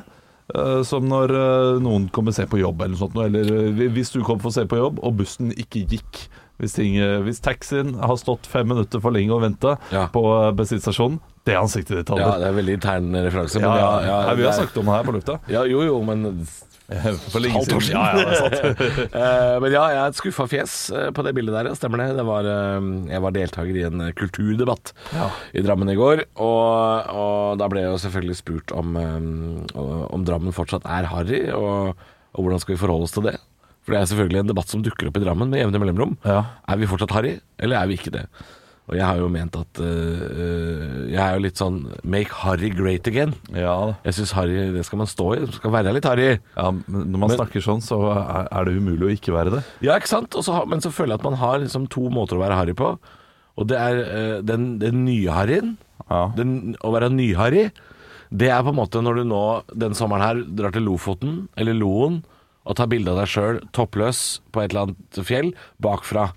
S3: eh, som når eh, noen kommer se på jobb, eller noe sånt. noe, Eller eh, hvis du kom for å se på jobb, og bussen ikke gikk. Hvis, ting, eh, hvis taxien har stått fem minutter for lenge og venta
S5: Ja.
S3: på eh, bensinstasjonen, det er ansiktet ditt,
S5: Ja,
S3: Halvor.
S5: det er veldig intern referanse.
S3: Ja,
S5: Men ja, ja,
S3: Nei, vi har
S5: det er-
S3: snakket om det her på lufta.
S5: ja, jo, jo, men
S3: For lenge
S5: Halvt år
S3: siden. Ja, ja, det er sant.
S5: Eh, Men ja, jeg er et skuffa fjes eh, på det bildet der, ja, stemmer det. det var, eh, jeg var deltaker i en eh, kulturdebatt i Drammen i går. Og, og da ble jeg jo selvfølgelig spurt om, eh, om Drammen fortsatt er harry, og, og hvordan skal vi forholde oss til det. For det er selvfølgelig en debatt som dukker opp i Drammen med jevne mellomrom.
S3: Ja.
S5: Er vi fortsatt harry, eller er vi ikke det? Og jeg har jo ment at eh, Jeg er jo litt sånn Make Harry great again.
S3: Ja, da.
S5: Jeg syns Harry, det skal man stå i. Det skal være litt Harry.
S3: ja, men når man
S5: Men-
S3: snakker sånn, så er er det umulig å ikke være det.
S5: Ja, ikke sant? Og så har, men så føler jeg at man har liksom to måter å være harry på. Og det er eh, den, den nye harryen.
S3: Ja.
S5: Den- Å være ny-harry, det er på en måte når du nå den sommeren her drar til Lofoten, eller Loen, og tar bilde av deg sjøl toppløs på et eller annet fjell bakfra.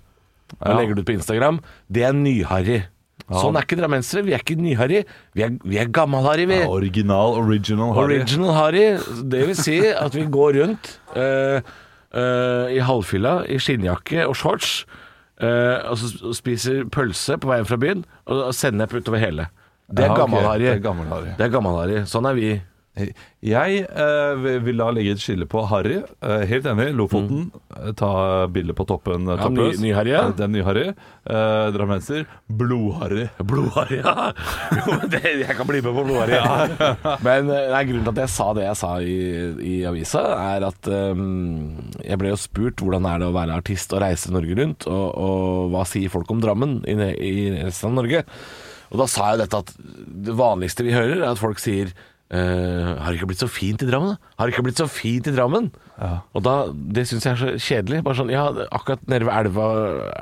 S5: Og
S3: Ja.
S5: legger det ut på Instagram. Det er ny-harry. Sånn er ikke drammensere. Vi er ikke ny-harry. Vi er, vi er gammal-harry, vi.
S3: Ja, original, original Harry.
S5: Original Harry. Det vil si at vi går rundt eh, eh, i halvfylla, i skinnjakke og shorts, eh, og så s- og spiser pølse på veien fra byen, og og sennep utover hele. Det
S3: Ja,
S5: er
S3: ok.
S5: gammel Harry.
S3: Det er gammel Harry.
S5: Det er gammel Harry. Sånn er vi.
S3: Jeg eh, vil- vil da legge et skille på Harry. Eh, helt enig. Lofoten. eh, Ta bilde på toppen. eh,
S5: Mm. Ja, ny-
S3: toppløs.
S5: ny Harry, ja.
S3: Eh, Den nye Harry. Eh, Drammenser. Blod-Harry.
S5: Blodharry, ja. Jo, men det, jeg kan bli med på blodharry. Men eh, nei, grunnen til at jeg sa det jeg sa i, i avisa, er at eh, jeg ble jo spurt hvordan er det å være artist og reise Norge rundt, og, og hva sier folk om Drammen i, ne- i resten av Norge? Og da sa jeg dette at det vanligste vi hører, er at folk sier eh, har det ikke blitt så fint i Drammen? da? Har det ikke blitt så fint i Drammen? Og da, Det syns jeg er så kjedelig. Bare sånn, ja, Akkurat nede ved elva,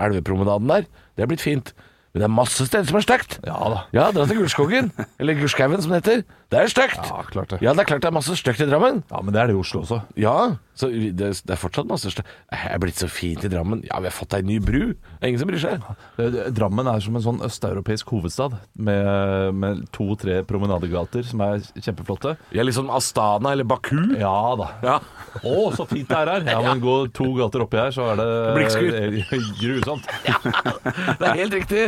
S5: elvepromenaden der, det er blitt fint. Men det er masse steder som er stygt.
S3: Ja da.
S5: Ja, dra til Gulskogen. Eller Gurskauen, som det heter. Det er stygt.
S3: Ja, klart det.
S5: Ja, det er klart det er masse stygt i Drammen.
S3: Ja, men det er det i Oslo også.
S5: Ja, så vi- det, det er fortsatt masse stygt. Det er blitt så fint i Drammen. Ja, vi har fått ei ny bru. Det er ingen som bryr seg.
S3: Det- det- Eh, Drammen er som en sånn østeuropeisk hovedstad med, med to-tre promenadegater som er kjempeflotte.
S5: Vi er liksom Astana eller Baku.
S3: Ja da.
S5: Ja.
S3: Å, så fint det er her! Ja, men Gå to gater oppi her, så er det eh, grusomt.
S5: Det er helt riktig.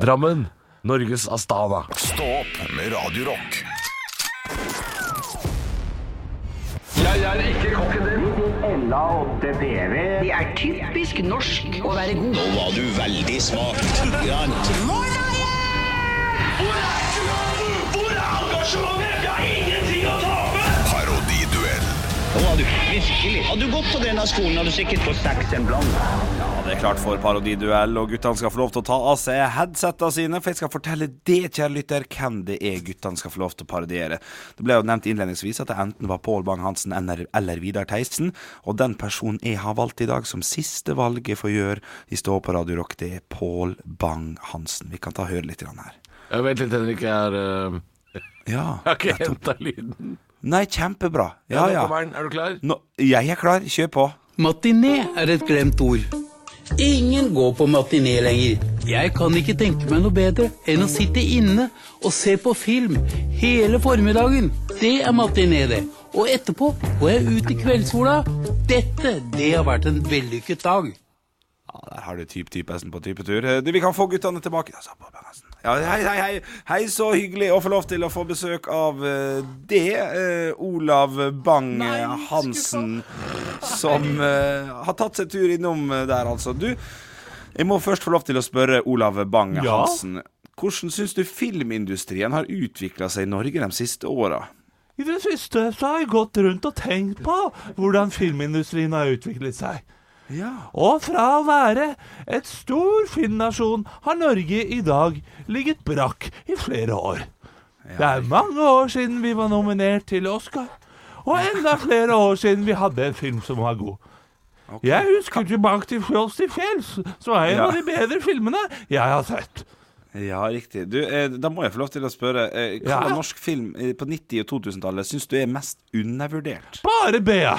S5: Drammen. Norges Astana.
S1: Stå opp med Radio Rock.
S7: Det er typisk norsk å være god.
S8: Nå var du veldig smak.
S9: Hvor er engasjementet? Jeg har ingenting å tape!
S1: Parodiduell.
S8: Nå var du virkelig. Hadde du gått på denne skolen, hadde du sikkert fått seks en blank.
S4: Ja, det er klart for parodiduell, og guttene skal få lov til å ta av seg headsetta sine, for jeg skal fortelle det, kjære lytter, hvem det er guttene skal få lov til å parodiere. Det ble jo nevnt innledningsvis at det enten var Pål Bang-Hansen eller, eller Vidar Theisen, og den personen jeg har valgt i dag som siste valg jeg får gjøre i Stå på Radio Rock, det er Pål Bang-Hansen. Vi kan ta og høre litt grann her.
S5: Ja, vent litt, Henrik. Jeg er, øh,
S4: Ja.
S5: har ikke henta lyden.
S4: Nei, kjempebra. Ja,
S5: nå
S4: ja.
S5: kommer den. Er du klar?
S4: Nå, jeg er klar. Kjør på.
S10: Matiné er et glemt ord. Ingen går på matiné lenger. Jeg kan ikke tenke meg noe bedre enn å sitte inne og se på film hele formiddagen. Det er matiné, det. Og etterpå går jeg ut i kveldssola. Dette, det har vært en vellykket dag.
S4: Ja, der har du typ-typesen på typetur. Eh, Du, vi kan få guttene tilbake. Ja, så på balansen. Ja, hei, hei, hei. hei, så hyggelig å få lov til å få besøk av eh, det. eh, Olav Bang eh, Hansen, som eh, har tatt seg tur innom eh, der, altså. Du, jeg må først få lov til å spørre Olav Bang Hansen. Hvordan syns du filmindustrien har utvikla seg i Norge de siste åra?
S3: I det siste så har jeg gått rundt og tenkt på hvordan filmindustrien har utviklet seg.
S4: Ja.
S3: Og fra å være et stor filmnasjon har Norge i dag ligget brakk i flere år. Det er mange år siden vi var nominert til Oscar, og enda flere år siden vi hadde en film som var god. Jeg husker tilbake til Fjols til fjells, så er en
S4: Ja.
S3: av de bedre filmene jeg har sett.
S4: Ja, riktig. Du, eh, da må jeg få lov til å spørre. Eh, hva
S3: Ja.
S4: av norsk film eh, på 90- og 2000-tallet syns du er mest undervurdert?
S3: Bare Bea.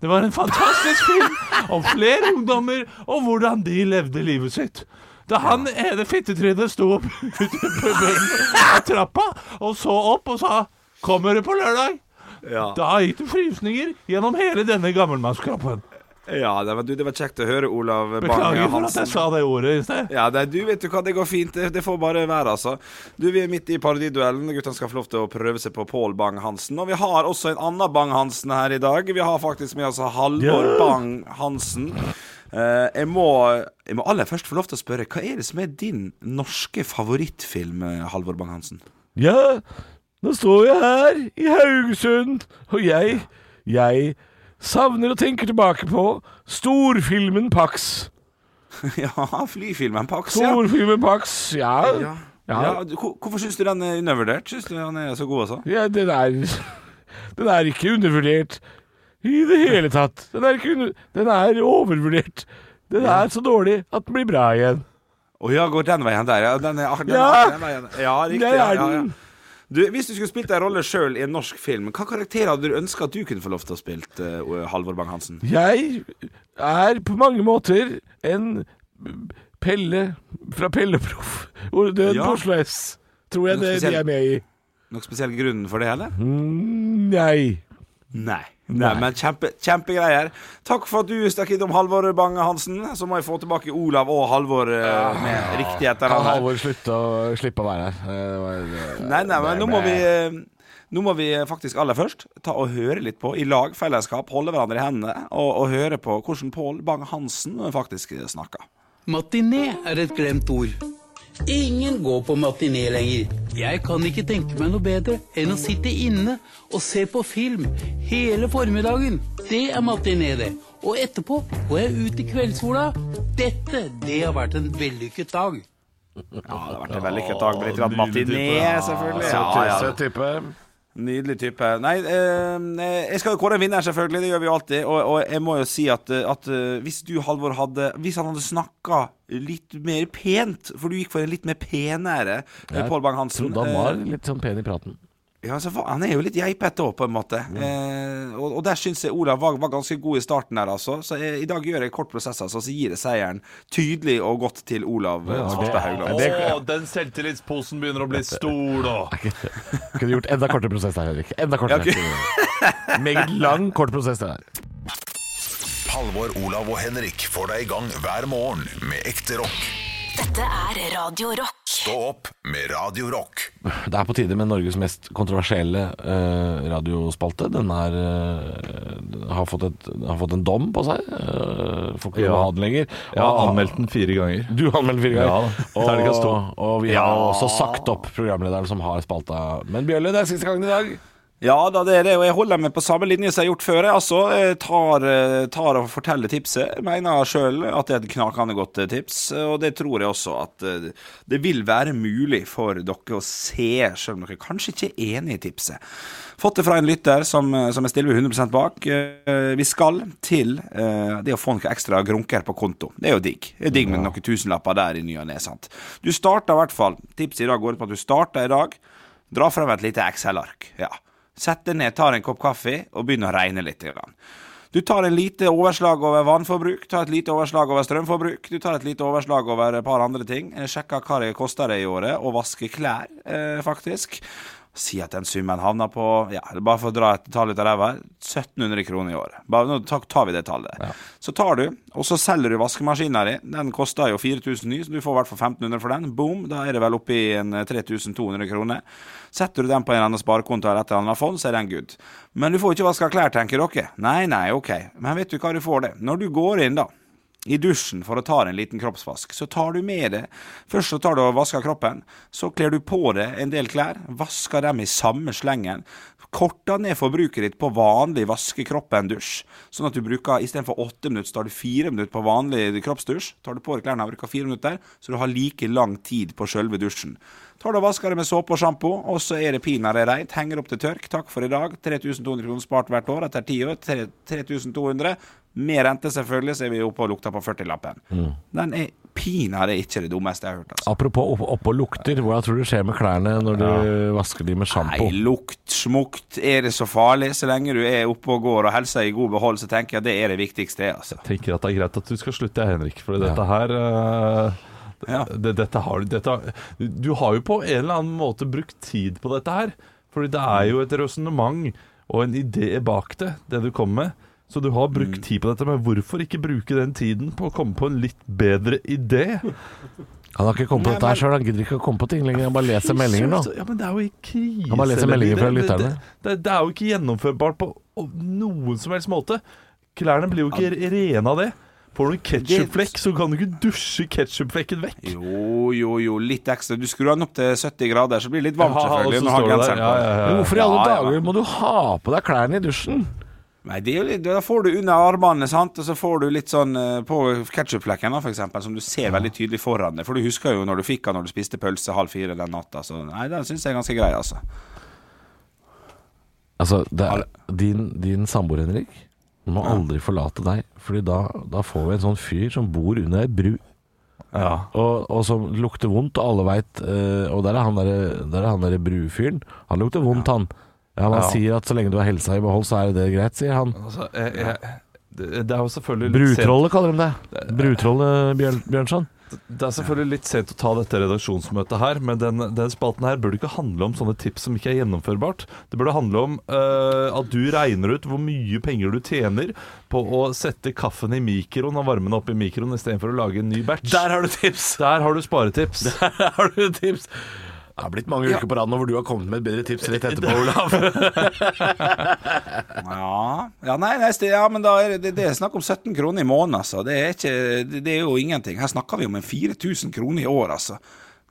S3: Det var en fantastisk film om flere ungdommer og hvordan de levde livet sitt. Da han ene fittetrynet sto opp ute på bunnen av trappa og så opp og sa 'Kommer du på lørdag?' Da gikk det frysninger gjennom hele denne gammelmannskroppen.
S4: Ja, det var, du, det var kjekt å høre, Olav Bange
S3: Beklager for at jeg
S4: Hansen.
S3: sa det ordet i sted.
S4: Ja, det, du vet du hva, det går fint. Det, det får bare være, altså. Du, Vi er midt i parodiduellen. Guttene skal få lov til å prøve seg på Pål Bang-Hansen. Og vi har også en annen Bang-Hansen her i dag. Vi har faktisk med oss Halvor Bang-Hansen. Eh, jeg, må, jeg må aller først få lov til å spørre, hva er det som er din norske favorittfilm, eh, Halvor Bang-Hansen?
S5: Ja, nå står jeg her i Haugesund, og jeg, jeg savner og tenker tilbake på storfilmen Pax.
S4: ja, flyfilmen på Aks, ja.
S5: Storfilmen Pax, ja.
S4: ja.
S5: Ja.
S4: Ja, du- hvor- hvorfor syns du den er undervurdert? Syns du han er så god, altså?
S5: ja den, er, den er ikke undervurdert i det hele tatt. Den er, ikke under, den er overvurdert. Den er så dårlig at den blir bra igjen.
S4: Å ja, går den veien der, ja. Den er, den er,
S5: Ja.
S4: den veien. ja riktig.
S5: Der
S4: Ja,
S5: er
S4: ja, ja.
S5: den.
S4: Du, hvis du skulle spilt en rolle sjøl i en norsk film, hva karakterer hadde du ønska at du kunne få lov til å spille, eh, Halvor Bang-Hansen?
S5: Jeg er på mange måter en Pelle fra Pelleproff. Hvor døden
S4: Ja.
S5: på Oslo S. Tror jeg
S4: Men
S5: det de
S4: spesiell-
S5: er med i. Mm,
S4: Noen spesiell grunn for det,
S5: Mhm.
S4: eller?
S5: Nei.
S4: Nei. Nei, men kjempe, kjempegreier. Takk for at du stakk innom Halvor Bange-Hansen. Så må jeg få tilbake Olav og Halvor eh, med riktig
S5: Kan
S4: etternavn. her.
S5: Halvor slutte å slippe å være her? Eh, det var- det-
S4: Nei, nei, men nå må vi eh, nå må vi faktisk aller først ta og høre litt på, i lag, fellesskap, holde hverandre i hendene og, og høre på hvordan Pål Bang-Hansen faktisk snakker.
S10: Matiné er et glemt ord. Ingen går på matiné lenger. Jeg kan ikke tenke meg noe bedre enn å sitte inne og se på film hele formiddagen. Det er matiné, det. Og etterpå går jeg ut i kveldssola. Dette, det har vært en vellykket dag.
S4: Ja, det har vært en vellykket dag med litt grann matiné, selvfølgelig. Ja, ja.
S5: Søt type.
S4: Nydelig type. Nei, eh, jeg skal jo kåre en vinner, selvfølgelig. Det gjør vi jo alltid. Og, og jeg må jo si at, eh, at eh, hvis du, Halvor, hadde Hvis han hadde snakka litt mer pent, for du gikk for en litt mer penere eh, Pål Bang-Hansen
S5: Trodde han var
S4: eh,
S5: litt sånn pen i praten.
S4: ja, så fa- Han er jo litt geipete òg, på en måte. Eh, og, og der syns jeg Olav var, var ganske god i starten her, altså. Så jeg, i dag gjør jeg kort prosess, altså. Så gir jeg seieren tydelig og godt til Olav eh, Svarstad Haugland.
S3: Å, den selvtillitsposen begynner å bli stor, da.
S5: Kunne gjort enda kortere prosess der, Henrik. Enda kortere. Meget lang, kort prosess det der.
S1: Halvor, Olav og Henrik får deg i gang hver morgen med ekte rock.
S2: Dette er Radio Rock.
S1: Stå opp med Radio Rock.
S5: Det er på tide med Norges mest kontroversielle eh, radiospalte. Den er, eh, har, fått et, har fått en dom på seg. Uh, får ikke lov å
S3: Ja.
S5: ha den lenger.
S3: Jeg har
S5: Og-
S3: anmeldt den fire ganger.
S5: Du har anmeldt fire ganger.
S3: Ja, da. Terningkast to.
S5: og, og vi har også sagt opp programlederen som har spalta. Men Bjølle, det er siste gangen i dag.
S4: Ja da, det er det, og jeg holder meg på samme linje som jeg har gjort før. Jeg altså eh, tar, eh, tar og forteller tipset. Jeg mener sjøl at det er et knakende godt eh, tips, eh, og det tror jeg også at eh, det vil være mulig for dere å se, sjøl om dere kanskje ikke er enig i tipset. Fått det fra en lytter som, eh, som jeg stiller meg 100 bak. Eh, Vi skal til eh, det å få noen ekstra grunker på konto. Det er jo digg. Det er digg med noen tusenlapper der i ny og ne, sant. Du starter i hvert fall. Tipset i dag går ut på at du starter i dag. Dra frem et lite Excel-ark. Ja. Sett deg ned, tar en kopp kaffe og begynn å regne litt. grann. Du tar en lite overslag over vannforbruk, tar et lite overslag over strømforbruk, du tar et lite overslag over et par andre ting, eh, sjekker hva det koster deg i året å vaske klær, eh, faktisk. Si at den summen havner på ja, bare for å dra et tall ut av ræva her, 1700 kroner i året. Bare, nå tar, tar vi det tallet. Så tar du, og så selger du vaskemaskinen din. Den koster jo 4000 ny, så du får i hvert fall 1500 for den. Boom, da er det vel oppe i en eh, 3200 kroner. Setter du den på en eller annen sparekonto eller et eller annet fond, så er den good. Men du får ikke vaska klær, tenker dere. Nei, nei, ok. Men vet du hva du får det? Når du går inn, da i dusjen for å ta deg en liten kroppsvask. Så tar du med det. Først så tar du og vasker kroppen, så kler du på deg en del klær, vasker dem i samme slengen. Korter ned forbruket ditt på vanlig vaske kroppen-dusj, sånn at du bruker istedenfor åtte minutter, så tar du fire minutter på vanlig kroppsdusj. Tar du på deg klærne og bruker fire minutter, så du har like lang tid på sjølve dusjen. Tar du og vasker det med såpe og sjampo, og så er det pinadø reint. Henger opp til tørk. Takk for i dag. 3200 kroner spart hvert år etter ti år. tre- 3200. Med rente, selvfølgelig, så er vi oppe og lukter på 40-lappen. Den er pinadø ikke det dummeste jeg har hørt. altså.
S5: Apropos opp- oppå lukter, hvordan tror du det skjer med klærne når du vasker de med sjampo?
S4: Nei, lukt, smukt, er det så farlig? Så lenge du er oppe og går og helsa er i god behold, så tenker jeg det er det viktigste, altså.
S3: Tenker at det er greit at du skal slutte, jeg, Henrik, for dette her eh, det-
S4: Ja.
S3: det, dette har, du- dette, Du har jo på en eller annen måte brukt tid på dette her. Fordi det er jo et resonnement og en idé bak det, det du kommer med. Så du har brukt tid på dette, men hvorfor ikke bruke den tiden på å komme på en litt bedre idé?
S5: Han har ikke kommet på dette her sjøl, han gidder ikke å komme på ting lenger. Han bare leser meldinger nå.
S3: Ja, men det er jo i krise.
S5: Kan bare lese meldinger fra
S3: Det- det-
S5: lytterne.
S3: Det, det, det er jo ikke gjennomførbart på o- noen som helst måte. Klærne blir jo ikke rene av det. Får du en ketsjupflekk, så kan du ikke dusje ketsjupflekken vekk.
S4: Jo, jo, jo, litt ekstra. Du skrur den opp til 70 grader, så blir det litt varmt,
S3: Ha, ha, og
S4: selvfølgelig.
S3: så
S4: Når du har
S3: står det der.
S4: genseren på.
S3: Ja, ja, ja.
S5: Men hvorfor i alle
S4: Ja, ja.
S5: dager må du ha på deg klærne i dusjen?
S4: Nei, det er jo litt, Da får du under armene, sant? og så får du litt sånn eh, på ketsjupflekken, f.eks., som du ser veldig tydelig foran deg. For du husker jo når du fikk den når du spiste pølse halv fire den natta. Så nei, den syns jeg er ganske grei, altså.
S5: Altså, det er, din, din samboer, Henrik, må aldri forlate deg. Fordi da, da får vi en sånn fyr som bor under ei bru. Og, og som lukter vondt, og alle veit Og der er han derre der er han derre brufyren. Han lukter vondt, han. Ja, men Han
S3: Ja.
S5: sier at så lenge du har helsa i behold, så er det greit, sier han.
S3: Altså, jeg, jeg, det det er jo selvfølgelig litt sent-
S5: Brutrollet kaller de det. Brutrollet Bjørn, Bjørnson.
S3: Det er selvfølgelig litt sent å ta dette redaksjonsmøtet her, men den, den spalten her burde ikke handle om sånne tips som ikke er gjennomførbart. Det burde handle om eh, at du regner ut hvor mye penger du tjener på å sette kaffen i mikroen og varme den opp i mikroen istedenfor å lage en ny batch.
S5: Der
S3: har du tips! Der har du sparetips.
S5: Har du tips?
S11: Det har blitt mange uker på rad nå hvor du har kommet med et bedre tips rett etterpå, Olav.
S4: Ja, ja nei, nei sti- ja, men da er det, det er snakk om 17 kroner i måneden, altså. Det er, ikke, det, det er jo ingenting. Her snakker vi om en 4000 kroner i år, altså.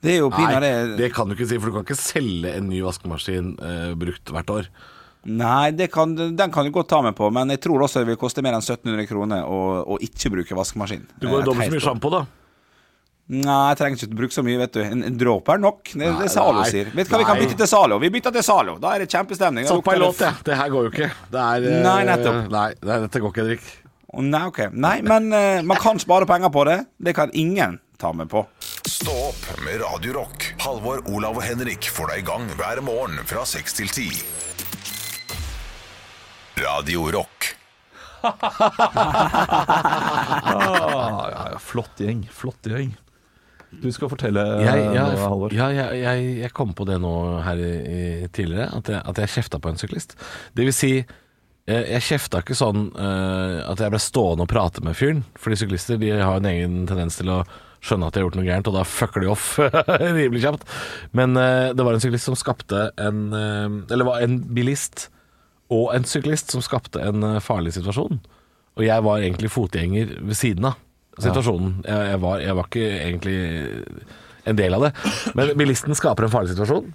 S4: Det er jo
S11: Nei,
S4: pinadø
S11: det kan du ikke si, for du kan ikke selge en ny vaskemaskin eh, brukt hvert år.
S4: Nei, det kan, den kan du godt ta med på, men jeg tror også det vil koste mer enn 1700 kroner å, å ikke bruke vaskemaskin.
S11: Du går jo
S4: Et
S11: dobbelt så
S4: helt
S11: mye
S4: år.
S11: sjampo, da.
S4: Nei, jeg trenger ikke bruke så mye, vet du. En, en dråpe er nok. Det,
S11: Nei,
S4: det er Zalo
S11: nei,
S4: sier. Vet du hva, vi kan
S11: nei.
S4: bytte til Zalo. Vi bytter til Zalo. Da er det kjempestemning. Da
S11: Satt på ei
S4: lukter det
S11: låt, jeg. Det her går jo ikke. Det er eh,
S4: Nei, nettopp.
S11: Nei, nei, dette går ikke, Henrik.
S4: Å, Nei, ok. Nei, men eh, man kan spare penger på det. Det kan ingen ta med på.
S1: Stå opp med Radio Rock. Halvor, Olav og Henrik får deg i gang hver morgen fra 6 til 10. Radio Rock.
S3: Ah, ja, ja, flott gjeng. Flott gjeng. Du skal fortelle
S5: Jeg,
S3: eh,
S5: jeg,
S3: noe, Halvor.
S5: ja, jeg, jeg, jeg kom på det nå her i, i tidligere, at jeg, at jeg kjefta på en syklist. Det vil si, jeg, jeg kjefta ikke sånn eh, at jeg ble stående og prate med fyren. Fordi syklister de har en egen tendens til å skjønne at de har gjort noe gærent, og da fucker de off rimelig kjapt. Men eh, det var en syklist som skapte en eh, Eller var en bilist og en syklist som skapte en eh, farlig situasjon. Og jeg var egentlig fotgjenger ved siden av situasjonen. Jeg, jeg, var, jeg var ikke egentlig en del av det. Men bilisten skaper en farlig situasjon.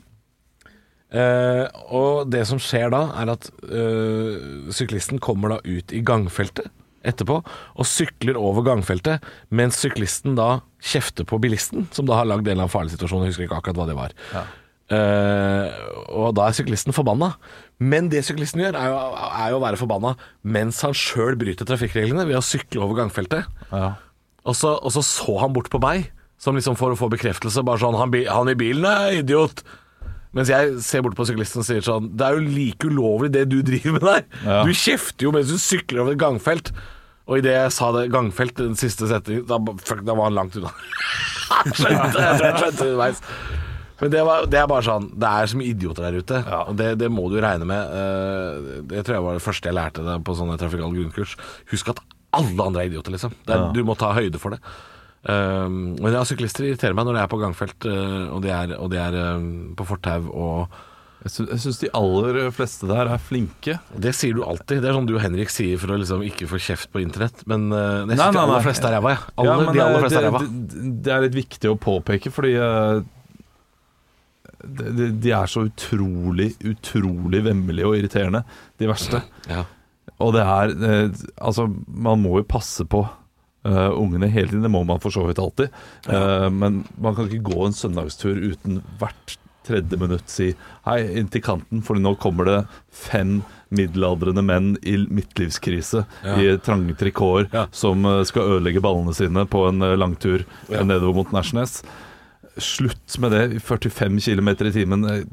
S5: Eh, og det som skjer da, er at eh, syklisten kommer da ut i gangfeltet etterpå og sykler over gangfeltet, mens syklisten da kjefter på bilisten, som da har lagd en eller annen farlig situasjon. Jeg husker ikke akkurat hva det var. Eh, og da er syklisten forbanna. Men det syklisten gjør, er jo, er jo å være forbanna mens han sjøl bryter trafikkreglene ved å sykle over gangfeltet. Og så, og så så han bort på meg, som liksom for å få bekreftelse. Bare sånn 'Han, bi- han i bilen er idiot'. Mens jeg ser bort på syklisten og sier sånn 'Det er jo like ulovlig det du driver med der'.
S3: Ja.
S5: Du kjefter jo mens du sykler over et gangfelt. Og idet jeg sa det gangfelt den siste setningen, da, fuck, da var han langt unna. skjønte, jeg tror jeg skjønte det underveis. Men det, var, det er bare sånn Det er så mye idioter der ute, og det, det må du regne med. Eh, Det tror jeg var det første jeg lærte det på sånne trafikale grunnkurs. Husk at alle andre er idioter, liksom. Det er, Du må ta høyde for det. Um, men ja, syklister irriterer meg når det er på gangfelt, eh, og det er, og det er eh, på fortau og
S3: Jeg sy- Jeg syns de aller fleste der er flinke.
S5: Det sier du alltid. Det er sånn du og Henrik sier for å liksom ikke få kjeft på internett. Men eh, jeg
S3: Nei,
S5: syns de
S3: nei, nei.
S5: aller fleste er ræva, jeg.
S3: Ja,
S5: Alle,
S3: men eh,
S5: de aller
S3: det-
S5: fleste er
S3: det-
S5: ræva.
S3: Det, det er litt viktig å påpeke, fordi eh, de, de, de er så utrolig, utrolig vemmelige og irriterende, de verste.
S5: Ja.
S3: Og det er eh, Altså, man må jo passe på eh, ungene hele tiden. Det må man for så vidt alltid. Eh, men man kan ikke gå en søndagstur uten hvert tredje minutt si hei, inn til kanten, for nå kommer det fem middelaldrende menn i midtlivskrise i trange trikoter
S5: Ja.
S3: som eh, skal ødelegge ballene sine på en eh, langtur eh, nedover mot Nesjnes. Slutt med det. 45 km i timen eh,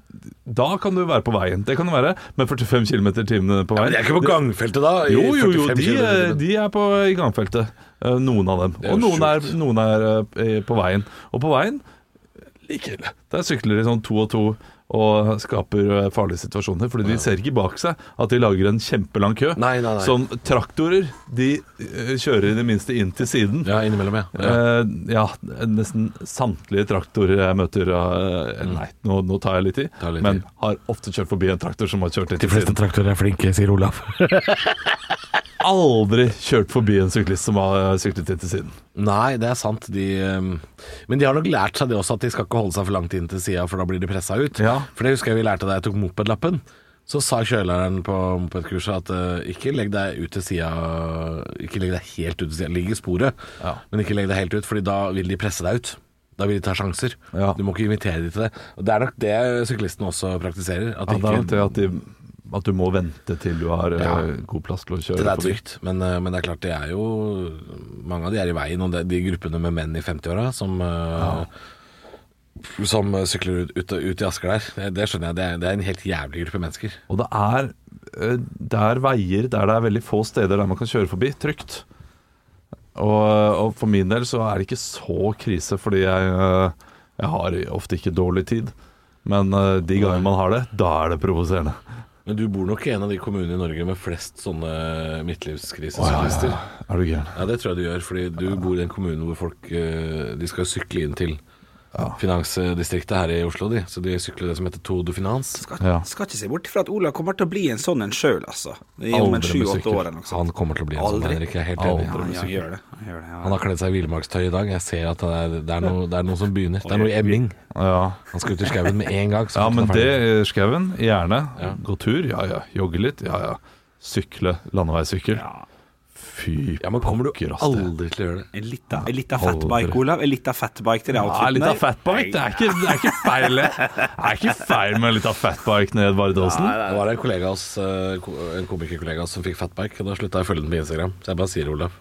S3: Da kan du være på veien, det kan du være, men 45 km i timen på veien
S5: Men de er ikke på gangfeltet, da. i
S3: jo, jo, jo,
S5: 45
S3: de,
S5: kilometer i
S3: eh,
S5: timen.
S3: de er på, i gangfeltet. eh, Noen av dem.
S5: er
S3: Og
S5: jo
S3: noen er,
S5: sjukt.
S3: noen er eh, på veien. Og på veien like ille. Der sykler de sånn to og to og skaper eh, farlige situasjoner. Fordi de ser ikke bak seg at de lager en kjempelang kø.
S5: Nei, nei, nei.
S3: Som traktorer, de eh, kjører i det minste inn til siden.
S5: Ja, innimellom, ja. ja.
S3: Eh, ja, nesten samtlige traktorer jeg møter eh, Nei, nå, nå tar jeg litt i.
S5: Mm. Tar litt
S3: men
S5: i.
S3: har ofte kjørt forbi en traktor som har kjørt inn til siden.
S5: traktorer er flinke, sier Olav.
S3: aldri kjørt forbi en syklist som har syklet inn til siden.
S5: Nei, det er sant. De, ehm, men de har nok lært seg det også, at de skal ikke holde seg for langt inn til sida, for da blir de pressa ut.
S3: Ja.
S5: For det husker jeg vi lærte da jeg tok mopedlappen. Så sa kjøleren på, på et kurs at eh, ikke legg deg ut til sida Ikke legg deg helt ut til sida. Ligg i sporet, men ikke legg deg helt ut, Fordi da vil de presse deg ut. Da vil de ta sjanser. Du må ikke invitere de til det. Og Det er nok det syklistene også praktiserer. At
S3: Ja, det er
S5: ikke,
S3: nok det at, de, at du må vente til du har eh,
S5: Ja.
S3: god plass til å
S5: det
S3: kjøre
S5: er
S3: forbi.
S5: trygt, men, eh, men det er klart det er jo Mange av de er i veien, og det, de gruppene med menn i 50-åra som, eh, som eh, sykler ut, ut, ut i Asker der, det, det skjønner jeg. Det er, det er en helt jævlig gruppe mennesker.
S3: Og det er, eh, det er veier der det er veldig få steder der man kan kjøre forbi trygt. Og, og for min del så er det ikke så krise, fordi jeg, eh, jeg har ofte ikke dårlig tid. Men eh, de gangene man har det, da er det provoserende.
S5: Men du bor nok i en av de kommunene i Norge med flest sånne
S3: ja,
S5: midtlivskrisesyklister.
S3: ja. Er du gæren?
S5: Ja, det tror jeg du gjør, fordi du bor i en kommune hvor folk eh, De skal jo sykle inn til finansdistriktet her i Oslo, de. Så de sykler det som heter Tour de Finance.
S3: Ja.
S4: Skal ikke se bort fra at Ola kommer til å bli en sånn en sjøl, altså. I om en
S5: Aldri med
S4: sju-åtte
S5: sykkel.
S4: år eller noe sånt.
S5: Han kommer til å bli en sånn,
S4: Aldri.
S5: Henrik. Jeg er helt
S4: Aldri
S5: enig.
S4: med sykkel. Ja, gjør det. Han gjør det, ja.
S5: Han har kledd seg i villmarkstøy i dag. Jeg ser at det er, det er, noe, det er noe som begynner. Det er noe i emning.
S3: Ja.
S5: Han skal ut i skauen med en gang. så
S3: Ja,
S5: fort
S3: men
S5: han er
S3: det
S5: ferdig.
S3: eh, skauen, gjerne. Gå tur, ja ja. Jogge litt, ja ja. Sykle, landeveissykkel. Fy
S5: Ja, men kommer du
S3: pokker, ass. det-
S5: aldri til å gjøre det?
S4: En lita, en lita
S3: Aldri.
S4: fatbike, Olav. En lita fatbike til det
S3: Ja,
S4: outfiten
S3: litt av
S4: der.
S3: fatbike. Det er ikke, det er ikke feil, det. Det er ikke feil med litt av fatbike ned Vardåsen.
S5: Det var en kollega av oss, eh, ko- en komikerkollega av oss som fikk fatbike, og da slutta jeg å følge den på Instagram. Så jeg bare sier det, Olav.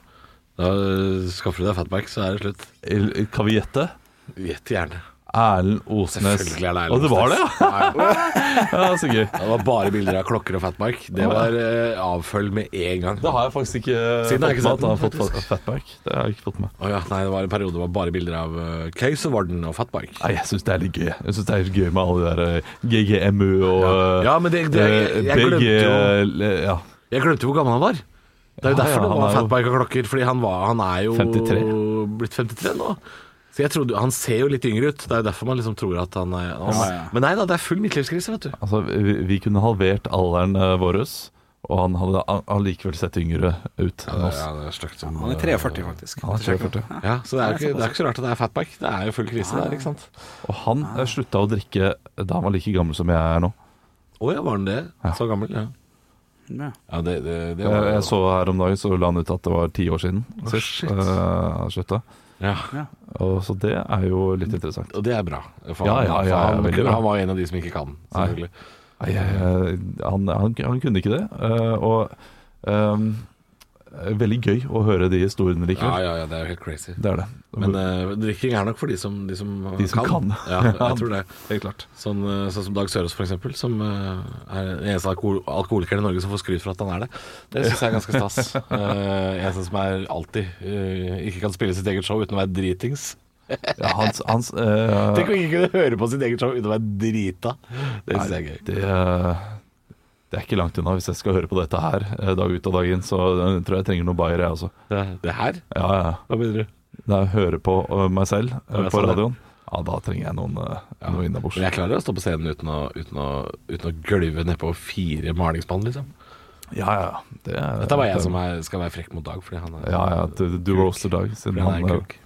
S5: Da eh, skaffer du deg fatbike, så er det slutt.
S3: El- Kan vi gjette?
S5: Gjett gjerne.
S3: Erlend Osnes.
S5: Selvfølgelig er det Erlend
S3: Og det var det, ja?
S5: Osnes. Nei,
S3: ja så gøy.
S5: Det var bare bilder av klokker og fatbike. Det var eh, avfølg med en gang.
S3: Det har jeg faktisk ikke
S5: Siden har jeg ikke
S3: fått
S5: sett
S3: med. at han har
S5: den,
S3: fått fat- fatbike. Det har jeg ikke fått med.
S5: Å ja, nei, det var en periode det var bare bilder av eh, Keiserwarden og fatbike.
S3: Nei, jeg syns det er litt gøy. Jeg synes det er litt gøy med alle de der eh, GGMU og eh,
S5: Ja, men det- det- jeg- jeg
S3: eh,
S5: glemte jo-
S3: BG, eh, ja.
S5: Jeg glemte hvor gammel han var. Det er jo
S3: Ja,
S5: derfor
S3: ja,
S5: det
S3: han
S5: var
S3: er jo-
S5: fatbike og klokker, fordi han, var, han er jo
S3: 53.
S5: blitt 53 nå. Så jeg trodde, Han ser jo litt yngre ut. Det er jo derfor man liksom tror at han er han,
S4: Ja, ja.
S5: Men nei da, det er full midtlivskrise, vet du.
S3: Altså, vi, vi kunne halvert alderen eh, vår, og han hadde a- allikevel sett yngre ut enn oss.
S5: det er stygt som
S4: Han er 43, faktisk.
S3: Han er 43.
S5: Ja, så det er, jo ikke, det er ikke så rart at det er fatbike. Det er jo full krise der, ikke sant.
S3: Og han eh, slutta å drikke da han var like gammel som jeg er nå.
S5: Å ja, var han det? Så gammel? Ja,
S4: Ja.
S5: ja det, det, det
S3: Jeg,
S5: var
S3: Eh, jeg så her om dagen, så la han ut at det var ti år siden sist
S5: shit.
S3: eh, han slutta.
S5: ja.
S3: Og, så det er jo litt interessant.
S5: Og det er bra. For
S3: Ja,
S5: han-
S3: ja, ja,
S5: for han,
S3: ja, veldig bra.
S5: han var jo en av de som ikke kan, selvfølgelig.
S3: Nei, jeg, Eh, han, han, han kunne ikke det. eh, og eh, veldig gøy å høre de historiene
S5: Ja,
S3: likevel.
S5: ja, ja, det er jo helt crazy.
S3: Det er det.
S5: Men eh, drikking er nok for de som, de som, eh,
S3: De som kan.
S5: Ja, jeg tror det.
S3: Helt klart.
S5: Sånn, eh, sånn som Dag Sørås, for eksempel, som eh, er den eneste alkohol alkoholikeren i Norge som får skryt for at han er det. Det syns jeg er ganske stas. Eh, eneste som er alltid eh, ikke kan spille sitt eget show uten å være dritings.
S3: Ja, hans, hans, eh,
S5: Tenk å ikke kunne høre på sitt eget show uten å være drita. Det syns jeg er
S3: Nei,
S5: gøy.
S3: det, eh, det er ikke langt unna hvis jeg skal høre på dette her eh, dag ut og dag inn. Så eh, tror jeg jeg trenger noe bayer, jeg også.
S5: Det, det her?
S3: Ja, ja, ja.
S5: Hva mener du?
S3: Når jeg hører på eh, meg selv eh,
S5: Ja, jeg
S3: på
S5: sa det.
S3: radioen, ja, da trenger jeg noen, eh, noe innabords.
S5: Men jeg klarer å stå på scenen uten å, uten å, uten å gølve nedpå fire malingsmann, liksom.
S3: Ja, ja. Det er,
S5: Dette var jeg som er, skal være frekk mot Dag, fordi han er
S3: Ja, ja. Du, du roaster Dag. Siden
S5: fordi han
S3: han, eh,
S5: er krok.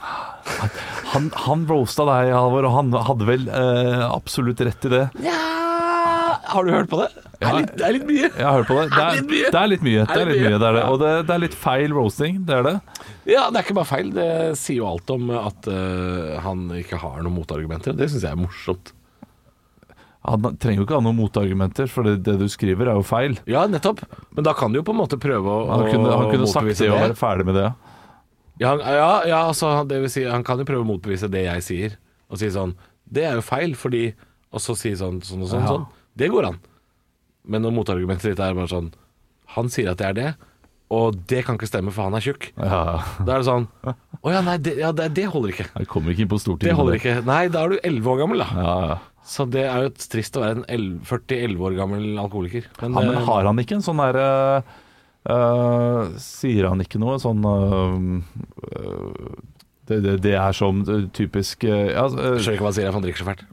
S3: han, han roasta deg, Halvor, og han hadde vel eh, absolutt rett i det.
S5: Ja, har du hørt på det? Det er litt, det er litt mye.
S3: Jeg har hørt på det. Det er, det er litt mye. Det er litt mye, det er det. Og det, det er litt feil roasting, det er det.
S5: Ja, det er ikke bare feil. Det sier jo alt om at eh, han ikke har noen motargumenter. Det syns jeg er morsomt.
S3: Han trenger jo ikke ha noen motargumenter, for det, det du skriver, er jo feil.
S5: Ja, nettopp. Men da kan du jo på en måte prøve å
S3: Han kunne, han
S5: å
S3: kunne sagt
S5: motbevise
S3: det og være ferdig med det. ja.
S5: Ja, han- ja, ja altså, han- det vil si, han kan jo prøve å motbevise det jeg sier, og si sånn Det er jo feil, fordi Og så si sånn, sånn og sånn.
S3: Ja.
S5: sånn. Det går an. Men når motargumentet ditt er bare sånn Han sier at det er det, og det kan ikke stemme, for han er tjukk.
S3: Ja,
S5: Da er det sånn Å ja, nei, det, ja, det, det holder ikke.
S3: jeg kommer ikke inn på Stortinget.
S5: Det
S3: med
S5: holder ikke. Nei, da er du 11 år gammel, da.
S3: Ja, ja.
S5: Så det er jo trist å være en 11 40-11 år gammel alkoholiker. Men,
S3: ja, men
S5: eh,
S3: har han ikke en sånn derre øh, Sier han ikke noe sånn øh, øh, det, det, det er som øh, typisk øh, ja,
S5: jeg
S3: øh,
S5: skjønner ikke hva han sier, for han drikker så fælt.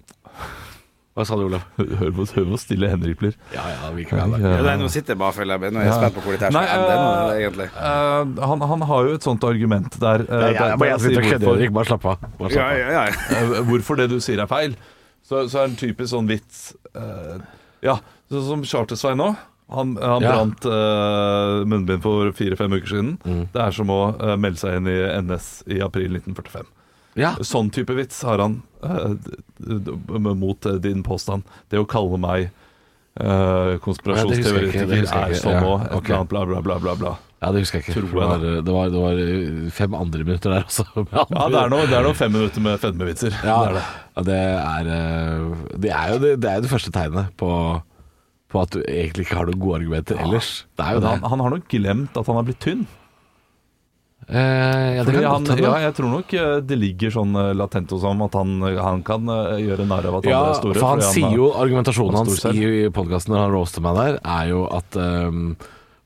S5: Hva sa du, Olav?
S3: hør, hvor, hør hvor stille Henrik blir.
S5: Ja ja, vi kan være
S4: Ja,
S3: Ja.
S4: nei, nå sitter jeg bare og følger med. Nå er jeg
S3: Ja.
S4: spent på hvor dette her
S3: Nei,
S4: skal ende. Nå,
S3: eh,
S4: egentlig.
S3: øh, han, han har jo et sånt argument der. øh,
S5: der.
S3: der- der han sier hvorfor-
S5: Bare slapp av. Bare
S4: Ja,
S5: slapp av.
S4: ja, ja.
S3: Eh, hvorfor det du sier er feil, så, så er det en typisk sånn vits eh, Ja, sånn som Charter-Svein nå. Han, han
S5: Ja.
S3: brant eh, munnbind for fire-fem uker siden.
S5: Mm.
S3: Det er som å eh, melde seg inn i NS i april 1945. Sånn type vits har han eh, d- d- mot eh, din påstand. Det å kalle meg eh,
S5: Ja, det husker jeg ikke, det
S3: konspirasjonsteoretiker
S5: husker jeg
S3: er
S5: ikke,
S3: sånn
S5: ja,
S3: nå. Et
S5: ok.
S3: eller annet bla, bla, bla, bla, bla.
S5: Ja, det husker jeg ikke.
S3: Tror
S5: for
S3: jeg,
S5: det, var, det, var, det var fem andre minutter der også.
S3: Ja, det er nå det er nå fem minutter med fedmevitser.
S5: Ja,
S3: Det er det.
S5: ja, det er, eh, det er jo det, det, er jo det første tegnet på, på at du egentlig ikke har noen gode argumenter ellers. Det er jo
S3: Men
S5: det.
S3: han, han har nok glemt at han har blitt tynn.
S5: Eh, ja, det
S3: Fordi
S5: kan
S3: han,
S5: godt hende.
S3: ja, jeg tror nok eh, det ligger sånn eh, latent hos ham at han, han kan eh, gjøre narr av at
S5: Ja,
S3: andre er store.
S5: for han
S3: fordi
S5: sier
S3: har-
S5: jo argumentasjonen
S3: han er
S5: hans
S3: stor
S5: i,
S3: selv.
S5: i podkasten når han roaster meg der, er jo at ehm,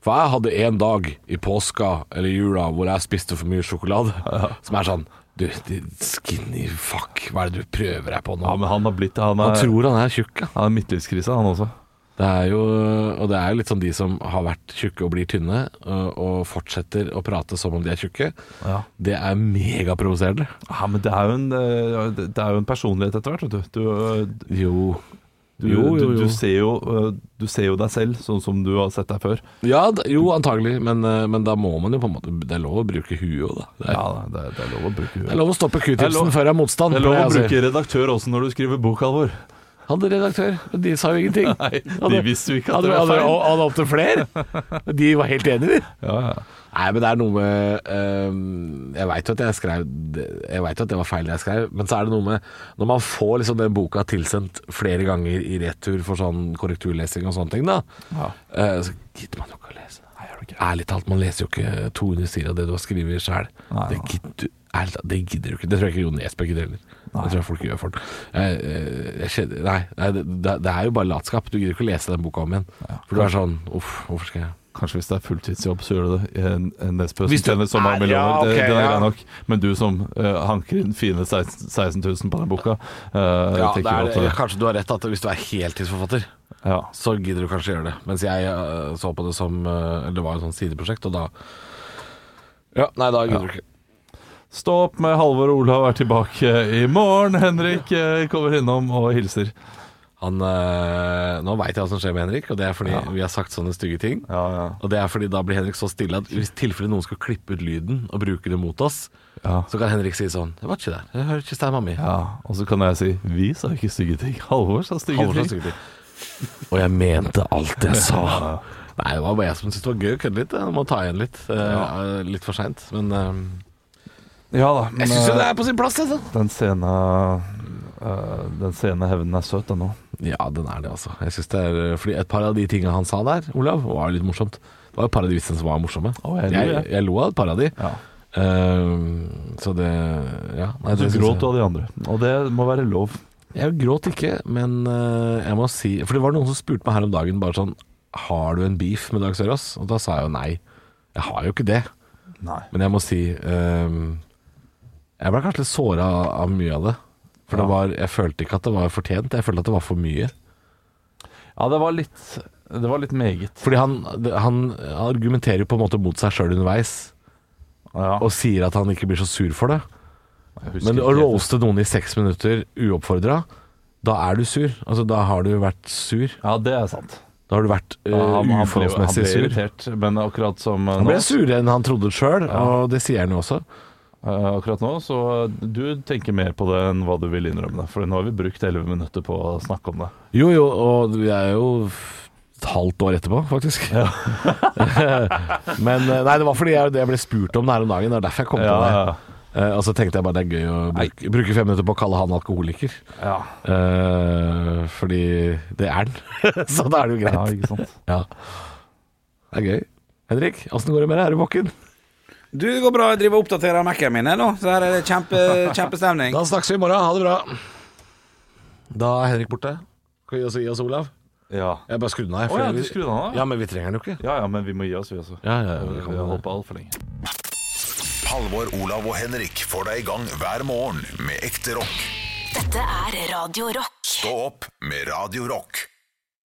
S5: For jeg hadde en dag i påska eller jula hvor jeg spiste for mye sjokolade, som er sånn Du, din skinny fuck, hva er det du prøver deg på nå?
S3: Ja, men eh, han har blitt Han,
S5: Han
S3: er,
S5: tror han er tjukk, ja.
S3: han er midtlivskrise, han også.
S5: Det er jo, og det er jo litt sånn de som har vært tjukke og blir tynne, og, og fortsetter å prate som om de er tjukke.
S3: Ja.
S5: Det er megaprovoserende.
S3: Ja, men det er jo en, eh, det er jo en personlighet etter hvert, vet du. Du, eh,
S5: Jo.
S3: du,
S5: Jo, jo,
S3: du,
S5: jo.
S3: du, ser jo eh, du ser jo deg selv sånn som du har sett deg før.
S5: Ja, d- jo, antagelig, men, eh, men da må man jo på en måte Det er lov å bruke huet òg, da. Det er,
S3: Ja, det, det er lov å bruke
S5: det er lov å stoppe
S3: Det er lov-
S5: q-tipsen før det er motstand.
S3: Det er lov å
S5: pleier jeg å si.
S3: bruke redaktør også når du skriver bok, Halvor.
S5: Hadde redaktør, og de sa jo ingenting.
S3: Nei, de
S5: Hadde-
S3: visste jo ikke at
S5: Hadde,
S3: det var
S5: hadde,
S3: feil.
S5: og- hadde opptil flere. De var helt enige, de.
S3: Ja, ja.
S5: Nei, men det er noe med ehm, Jeg veit jo at jeg skrev Jeg vet jo at det var feil det jeg skrev, men så er det noe med Når man får liksom den boka tilsendt flere ganger i retur for sånn korrekturlesing og sånne ting, da, eh, så gidder man jo ikke å lese. Ærlig talt, man leser jo ikke 200 sider av det du har skrevet sjøl.
S3: Nei,
S5: Det
S3: nei.
S5: gidder du ærlig talt, det gidder du ikke. Det tror jeg ikke Jon Jesper gidder heller. Det tror jeg folk gjør for den. Jeg, eh, jeg, jeg kjenner- nei, nei det, det- det er jo bare latskap. Du gidder ikke å lese den boka om igjen. For du er sånn Uff, hvorfor skal jeg
S3: Kanskje hvis det er fulltidsjobb, så gjør du det. En, en Nesbø
S5: Hvis
S3: som tjener
S5: du-
S3: så mange
S5: Nei, ja,
S3: millioner, det-
S5: ok,
S3: den er
S5: ja.
S3: grei nok. Men du som eh, hanker inn fine 16 16 000 på den boka, eh,
S5: Ja, det
S3: tenker
S5: er,
S3: jo at
S5: kanskje du har rett at hvis du er heltidsforfatter,
S3: ja.
S5: så gidder du kanskje gjøre det. Mens jeg øh, så på det som øh, eller Det var jo et sånt sideprosjekt, og da Ja, nei, da gidder du ikke.
S3: Stå opp med Halvor og Olav er tilbake i morgen. Henrik eh, kommer innom og hilser.
S5: Han, øh, nå veit jeg hva som skjer med Henrik, og det er fordi vi har sagt sånne stygge ting.
S3: Ja, ja.
S5: Og det er fordi da blir Henrik så stille at hvis tilfelle noen skal klippe ut lyden og bruke det mot oss,
S3: Ja.
S5: så kan Henrik si sånn Det var ikke der. Det hører ikke stemma mi.
S3: Ja, Og så kan jeg si vi sa ikke stygge ting. Halvor sa stygge
S5: Halvor sa
S3: ting.
S5: stygge ting. Og jeg mente alt jeg sa. Nei, det var bare jeg som syntes det var gøy å kødde litt. Jeg må ta igjen litt. øh, Litt for seint, men øh,
S3: Ja da, men
S5: Jeg syns jo det
S3: eh,
S5: er på sin plass, altså.
S3: den sene eh, Den sene hevnen er søt ennå.
S5: Ja, den er det, altså. Jeg synes det er, fordi Et par av de tingene han sa der, Olav, var jo litt morsomt. Det var et par av de vitsene som var morsomme.
S3: Å, jeg lo,
S5: jeg,
S3: jeg.
S5: jeg lo av et par av de.
S3: Ja.
S5: Ehm, så det Ja. Nei,
S3: Så
S5: det synes
S3: gråt du
S5: jeg.
S3: av de andre. Og det må være lov.
S5: Jeg gråt ikke, men eh, jeg må si For det var noen som spurte meg her om dagen bare sånn Har du en beef med Dag Sørås? Og da sa jeg jo nei. Jeg har jo ikke det.
S3: Nei.
S5: Men jeg må si ehm, Jeg ble kanskje litt såra av mye av det. For det var, jeg følte ikke at det var fortjent. Jeg følte at det var for mye.
S3: Ja, det var litt Det var litt meget.
S5: Fordi han, han argumenterer jo på en måte mot seg sjøl underveis,
S3: Ja,
S5: og sier at han ikke blir så sur for det.
S3: jeg husker
S5: Men å
S3: ikke helt.
S5: roaste noen i seks minutter uoppfordra, da er du sur. Altså, da har du vært sur.
S3: Ja, det er sant.
S5: Da har du vært eh,
S3: Han
S5: uforholdsmessig
S3: ble
S5: sur.
S3: irritert, men akkurat som eh,
S5: Han
S3: nå,
S5: ble surere enn han trodde sjøl, og det sier han jo også.
S3: eh, akkurat nå, så du tenker mer på det enn hva du vil innrømme. For nå har vi brukt 11 minutter på å snakke om det.
S5: Jo jo, og vi er jo f- et halvt år etterpå, faktisk. Men eh, nei, det var fordi jeg, det jeg ble spurt om det her om dagen. Det er derfor jeg kom
S3: Ja,
S5: på det.
S3: ja,
S5: Eh, og så tenkte jeg bare det er gøy å bruke, bruke fem minutter på å kalle han alkoholiker.
S3: ja.
S5: Eh, fordi det er den. så da er det jo
S3: ja,
S5: greit.
S3: ikke sant.
S5: Ja. Det er gøy. Henrik, åssen går det med deg? Er du våken?
S4: Du, det går bra. Jeg driver og oppdaterer Mac-en min jeg, nå, så her er det kjempe, kjempestemning.
S5: Da snakkes vi i morgen. Ha det bra. Da er Henrik borte. Skal vi gi oss, gi oss Olav?
S3: Ja.
S5: Jeg bare skrudde den av.
S3: Å
S5: for
S3: ja,
S5: vi-
S3: du skrudde den av?
S5: Ja, men vi trenger den jo ikke.
S3: Ja ja, men vi må gi oss, vi også.
S5: Ja, ja, ja, vi
S3: vi
S5: kan
S3: har
S5: det.
S3: holdt på altfor lenge.
S1: Halvor, Olav og Henrik får deg i gang hver morgen med ekte rock.
S2: Dette er Radio Rock.
S1: Stå opp med Radio Rock.